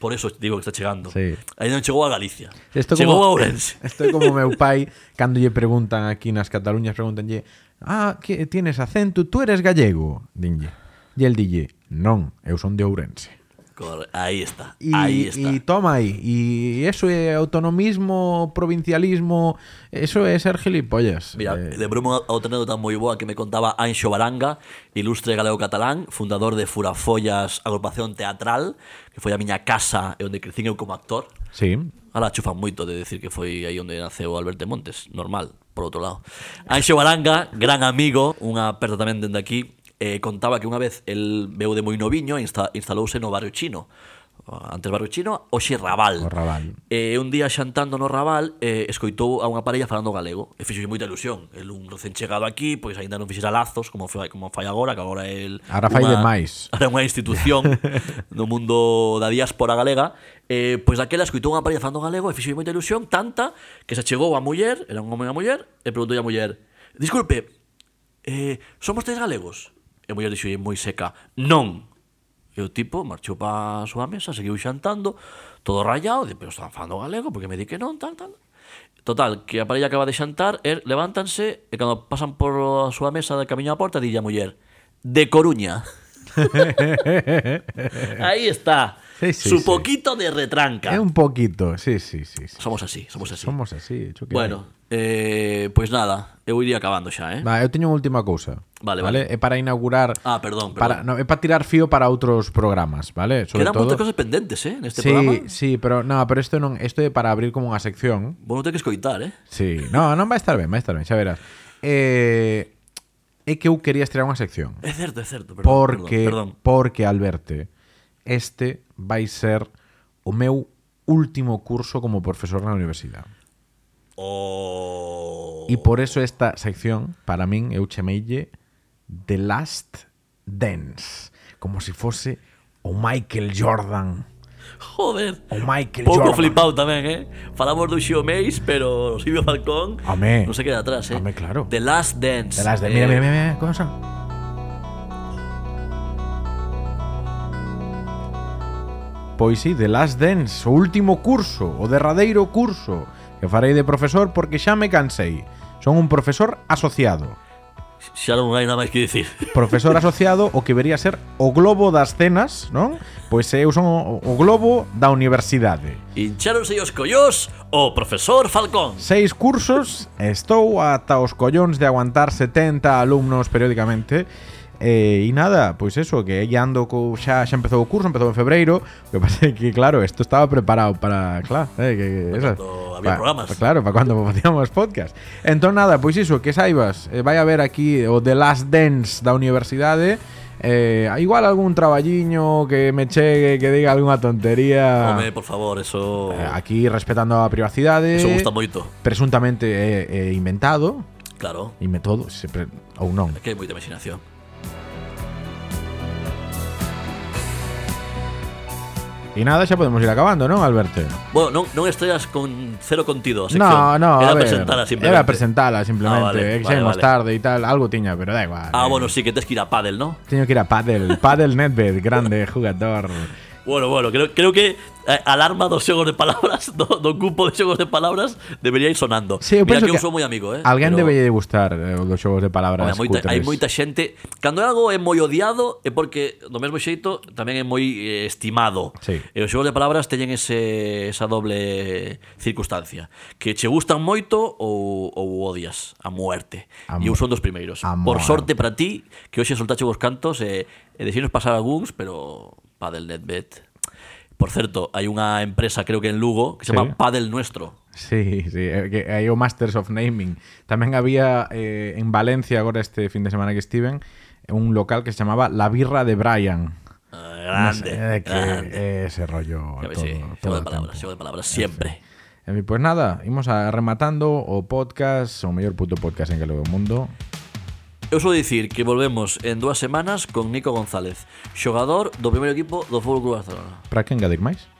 [SPEAKER 2] Por eso digo que está chegando.
[SPEAKER 1] Sí.
[SPEAKER 2] Aí non chegou a Galicia.
[SPEAKER 1] Isto
[SPEAKER 2] chegou
[SPEAKER 1] como-
[SPEAKER 2] a Ourense.
[SPEAKER 1] (laughs) Estoy como meu pai cando lle preguntan aquí nas Cataluñas pregúntanlle, "Ah, que tienes acento, tú eres gallego?" Dinlle. E el dille, "Non, eu son de Ourense."
[SPEAKER 2] Corre- Aí está.
[SPEAKER 1] Y,
[SPEAKER 2] aí está.
[SPEAKER 1] y toma ahí. Y eso es autonomismo, provincialismo. Eso es ser gilipollas.
[SPEAKER 2] Mira,
[SPEAKER 1] Eh,
[SPEAKER 2] lembrou-me a outra anécdota moi boa que me contaba Anxo Baranga, ilustre galego catalán, fundador de Furafollas Agrupación Teatral, que foi a miña casa e onde crecín eu como actor.
[SPEAKER 1] sí.
[SPEAKER 2] Ala, chufan moito de decir que foi aí onde naceu Alberto Montes, normal, por outro lado. Anxo Baranga, gran amigo, unha aperta tamén dende aquí, eh, contaba que unha vez el veu de moi noviño e insta instalouse no barrio chino. Antes barrio chino, hoxe Raval.
[SPEAKER 1] O Raval.
[SPEAKER 2] Eh, E un día xantando no Raval eh, escoitou a unha parella falando galego e fixoulle moita ilusión. El un recién chegado aquí, pois aínda non fixera lazos como foi como fai agora, que agora el
[SPEAKER 1] Ahora fai
[SPEAKER 2] (laughs)
[SPEAKER 1] demais.
[SPEAKER 2] Ahora é
[SPEAKER 1] (laughs)
[SPEAKER 2] unha institución no mundo da diáspora galega. Eh, pois daquela escoitou unha parella falando galego e fixoulle moita ilusión, tanta que se chegou a muller, era un home e a muller, e preguntoulle a muller: "Disculpe, eh, son vostedes galegos?" E a muller dixoulle moi seca: "Non." E o tipo marchou para a súa mesa, seguiu xantando, todo rayado, de, pero están falando galego, porque me di que non, tal, tal. Total, que a parella acaba de xantar, er, levántanse, e cando pasan por a súa mesa de camiño á porta, dille a muller,
[SPEAKER 1] (laughs)
[SPEAKER 2] de Coruña. Aí está,
[SPEAKER 1] Sí, sí,
[SPEAKER 2] su
[SPEAKER 1] sí.
[SPEAKER 2] poquito de retranca.
[SPEAKER 1] Es un poquito. Sí, sí, sí. sí.
[SPEAKER 2] Somos así, somos así.
[SPEAKER 1] Somos así. hecho que-
[SPEAKER 2] Bueno, eh, pois nada, eu iría acabando xa, eh?
[SPEAKER 1] Va, eu teño unha última cousa.
[SPEAKER 2] Vale, vale.
[SPEAKER 1] É para inaugurar...
[SPEAKER 2] Ah, perdón, perdón.
[SPEAKER 1] Para, no, é para tirar fío para outros programas, vale? Sobre
[SPEAKER 2] Quedan
[SPEAKER 1] todo...
[SPEAKER 2] moitas cosas pendentes, eh, neste
[SPEAKER 1] sí,
[SPEAKER 2] programa.
[SPEAKER 1] sí, pero no, pero isto non, isto é para abrir como unha sección
[SPEAKER 2] Vos non te que escoitar, eh?
[SPEAKER 1] Sí, no, non vai estar ben, vai estar ben, xa verás. Eh, é que eu quería estrear unha sección.
[SPEAKER 2] É certo, é certo, Eh, perdón,
[SPEAKER 1] porque
[SPEAKER 2] perdón, perdón.
[SPEAKER 1] porque Alberto, este vai ser o meu último curso como profesor na universidade.
[SPEAKER 2] O...
[SPEAKER 1] E por eso esta sección para min eu chameille The Last Dance, como se fose o Michael Jordan
[SPEAKER 2] Joder.
[SPEAKER 1] O Michael
[SPEAKER 2] Pouco
[SPEAKER 1] Jordan.
[SPEAKER 2] flipado tamén, eh? Falamos do Xio Meis, pero Silvio Falcón
[SPEAKER 1] Home.
[SPEAKER 2] non se queda atrás, eh?
[SPEAKER 1] Home, claro.
[SPEAKER 2] The Last Dance.
[SPEAKER 1] De las de,
[SPEAKER 2] eh,
[SPEAKER 1] mira, mira, mira, mira, ¿cómo son? Pois sí, The Last Dance, o último curso, o derradeiro curso que farei de profesor porque xa me cansei. Son un profesor asociado.
[SPEAKER 2] Xa non hai Eh, nada máis que
[SPEAKER 1] (laughs)
[SPEAKER 2] dicir.
[SPEAKER 1] Profesor asociado o que vería ser o globo das cenas, non? Pois eu son o, o globo da universidade.
[SPEAKER 2] Hincháronse os collós o profesor Falcón.
[SPEAKER 1] Seis cursos, estou ata os collóns de aguantar 70 alumnos periódicamente E, e nada, pois eso, que aí ando co, xa, xa empezou o curso, empezou en febreiro O que (laughs) pasa é que, claro, isto estaba preparado para, claro, eh, que, que esa,
[SPEAKER 2] cando había programas.
[SPEAKER 1] pa- claro, para (laughs) cando facíamos podcast Entón nada, pois iso, que saibas, eh, vai a ver aquí o The Last Dance da universidade eh, Igual algún traballiño que me chegue, que diga algunha tontería
[SPEAKER 2] Home, por favor, eso...
[SPEAKER 1] Ah. Eh, Aquí respetando a privacidade
[SPEAKER 2] Eso gusta moito,
[SPEAKER 1] presuntamente é, é inventado,
[SPEAKER 2] claro.
[SPEAKER 1] inme todo, se pre... ou non.
[SPEAKER 2] É que hai moita imaginación.
[SPEAKER 1] E nada, xa podemos ir acabando, non, Alberto?
[SPEAKER 2] Bueno, non, non estreas con cero contido a sección.
[SPEAKER 1] No, no, a
[SPEAKER 2] Era
[SPEAKER 1] ver,
[SPEAKER 2] presentala simplemente.
[SPEAKER 1] Era presentala simplemente,
[SPEAKER 2] Ah, vale,
[SPEAKER 1] é que xa
[SPEAKER 2] vale,
[SPEAKER 1] imos
[SPEAKER 2] vale.
[SPEAKER 1] tarde e tal, algo tiña, pero da igual. eh.
[SPEAKER 2] Ah, bueno, sí, que tes que ir a pádel, ¿no?
[SPEAKER 1] Teño que ir a Padel, Padel Nedved, grande jugador.
[SPEAKER 2] Bueno, bueno, creo, creo que eh, alarma dos xogos de palabras, (laughs) do, do cupo de xogos de palabras, debería ir sonando.
[SPEAKER 1] Sí, eu
[SPEAKER 2] Mira
[SPEAKER 1] penso
[SPEAKER 2] que eu
[SPEAKER 1] que
[SPEAKER 2] sou moi amigo, eh?
[SPEAKER 1] Alguén
[SPEAKER 2] pero-
[SPEAKER 1] debe gustar eh, os dos xogos de palabras
[SPEAKER 2] Home, hai moita,
[SPEAKER 1] cutres.
[SPEAKER 2] hai moita xente Cando algo é moi odiado É porque do mesmo xeito tamén é moi eh, estimado
[SPEAKER 1] Sí.
[SPEAKER 2] E os xogos de palabras teñen ese, esa doble circunstancia Que che gustan moito ou, ou odias a muerte
[SPEAKER 1] A
[SPEAKER 2] E eu
[SPEAKER 1] mu-
[SPEAKER 2] son dos primeiros
[SPEAKER 1] a
[SPEAKER 2] Por
[SPEAKER 1] muerte.
[SPEAKER 2] sorte para ti Que hoxe soltache vos cantos E, e decinos pasar algúns Pero Padel Netbet Por certo, hai unha empresa creo que en Lugo Que se
[SPEAKER 1] Sí.
[SPEAKER 2] chama Padel Nuestro
[SPEAKER 1] (laughs) Sí, sí, é que hai o Masters of Naming. Tamén había eh, en Valencia agora este fin de semana que estiven un local que se chamaba La Birra de Brian.
[SPEAKER 2] Ah, Grande,
[SPEAKER 1] No sé, eh, que
[SPEAKER 2] grande.
[SPEAKER 1] ese rollo.
[SPEAKER 2] Ya ves,
[SPEAKER 1] todo,
[SPEAKER 2] sí,
[SPEAKER 1] todo
[SPEAKER 2] xogo de
[SPEAKER 1] el
[SPEAKER 2] palabras,
[SPEAKER 1] tiempo.
[SPEAKER 2] xogo de palabras, siempre
[SPEAKER 1] En fin, pues nada, imos a rematando o podcast, o mellor puto podcast en galego do mundo.
[SPEAKER 2] Eu sou dicir que volvemos en dúas semanas con Nico González, xogador do primeiro equipo do Fútbol Club Barcelona.
[SPEAKER 1] Para que engadir máis?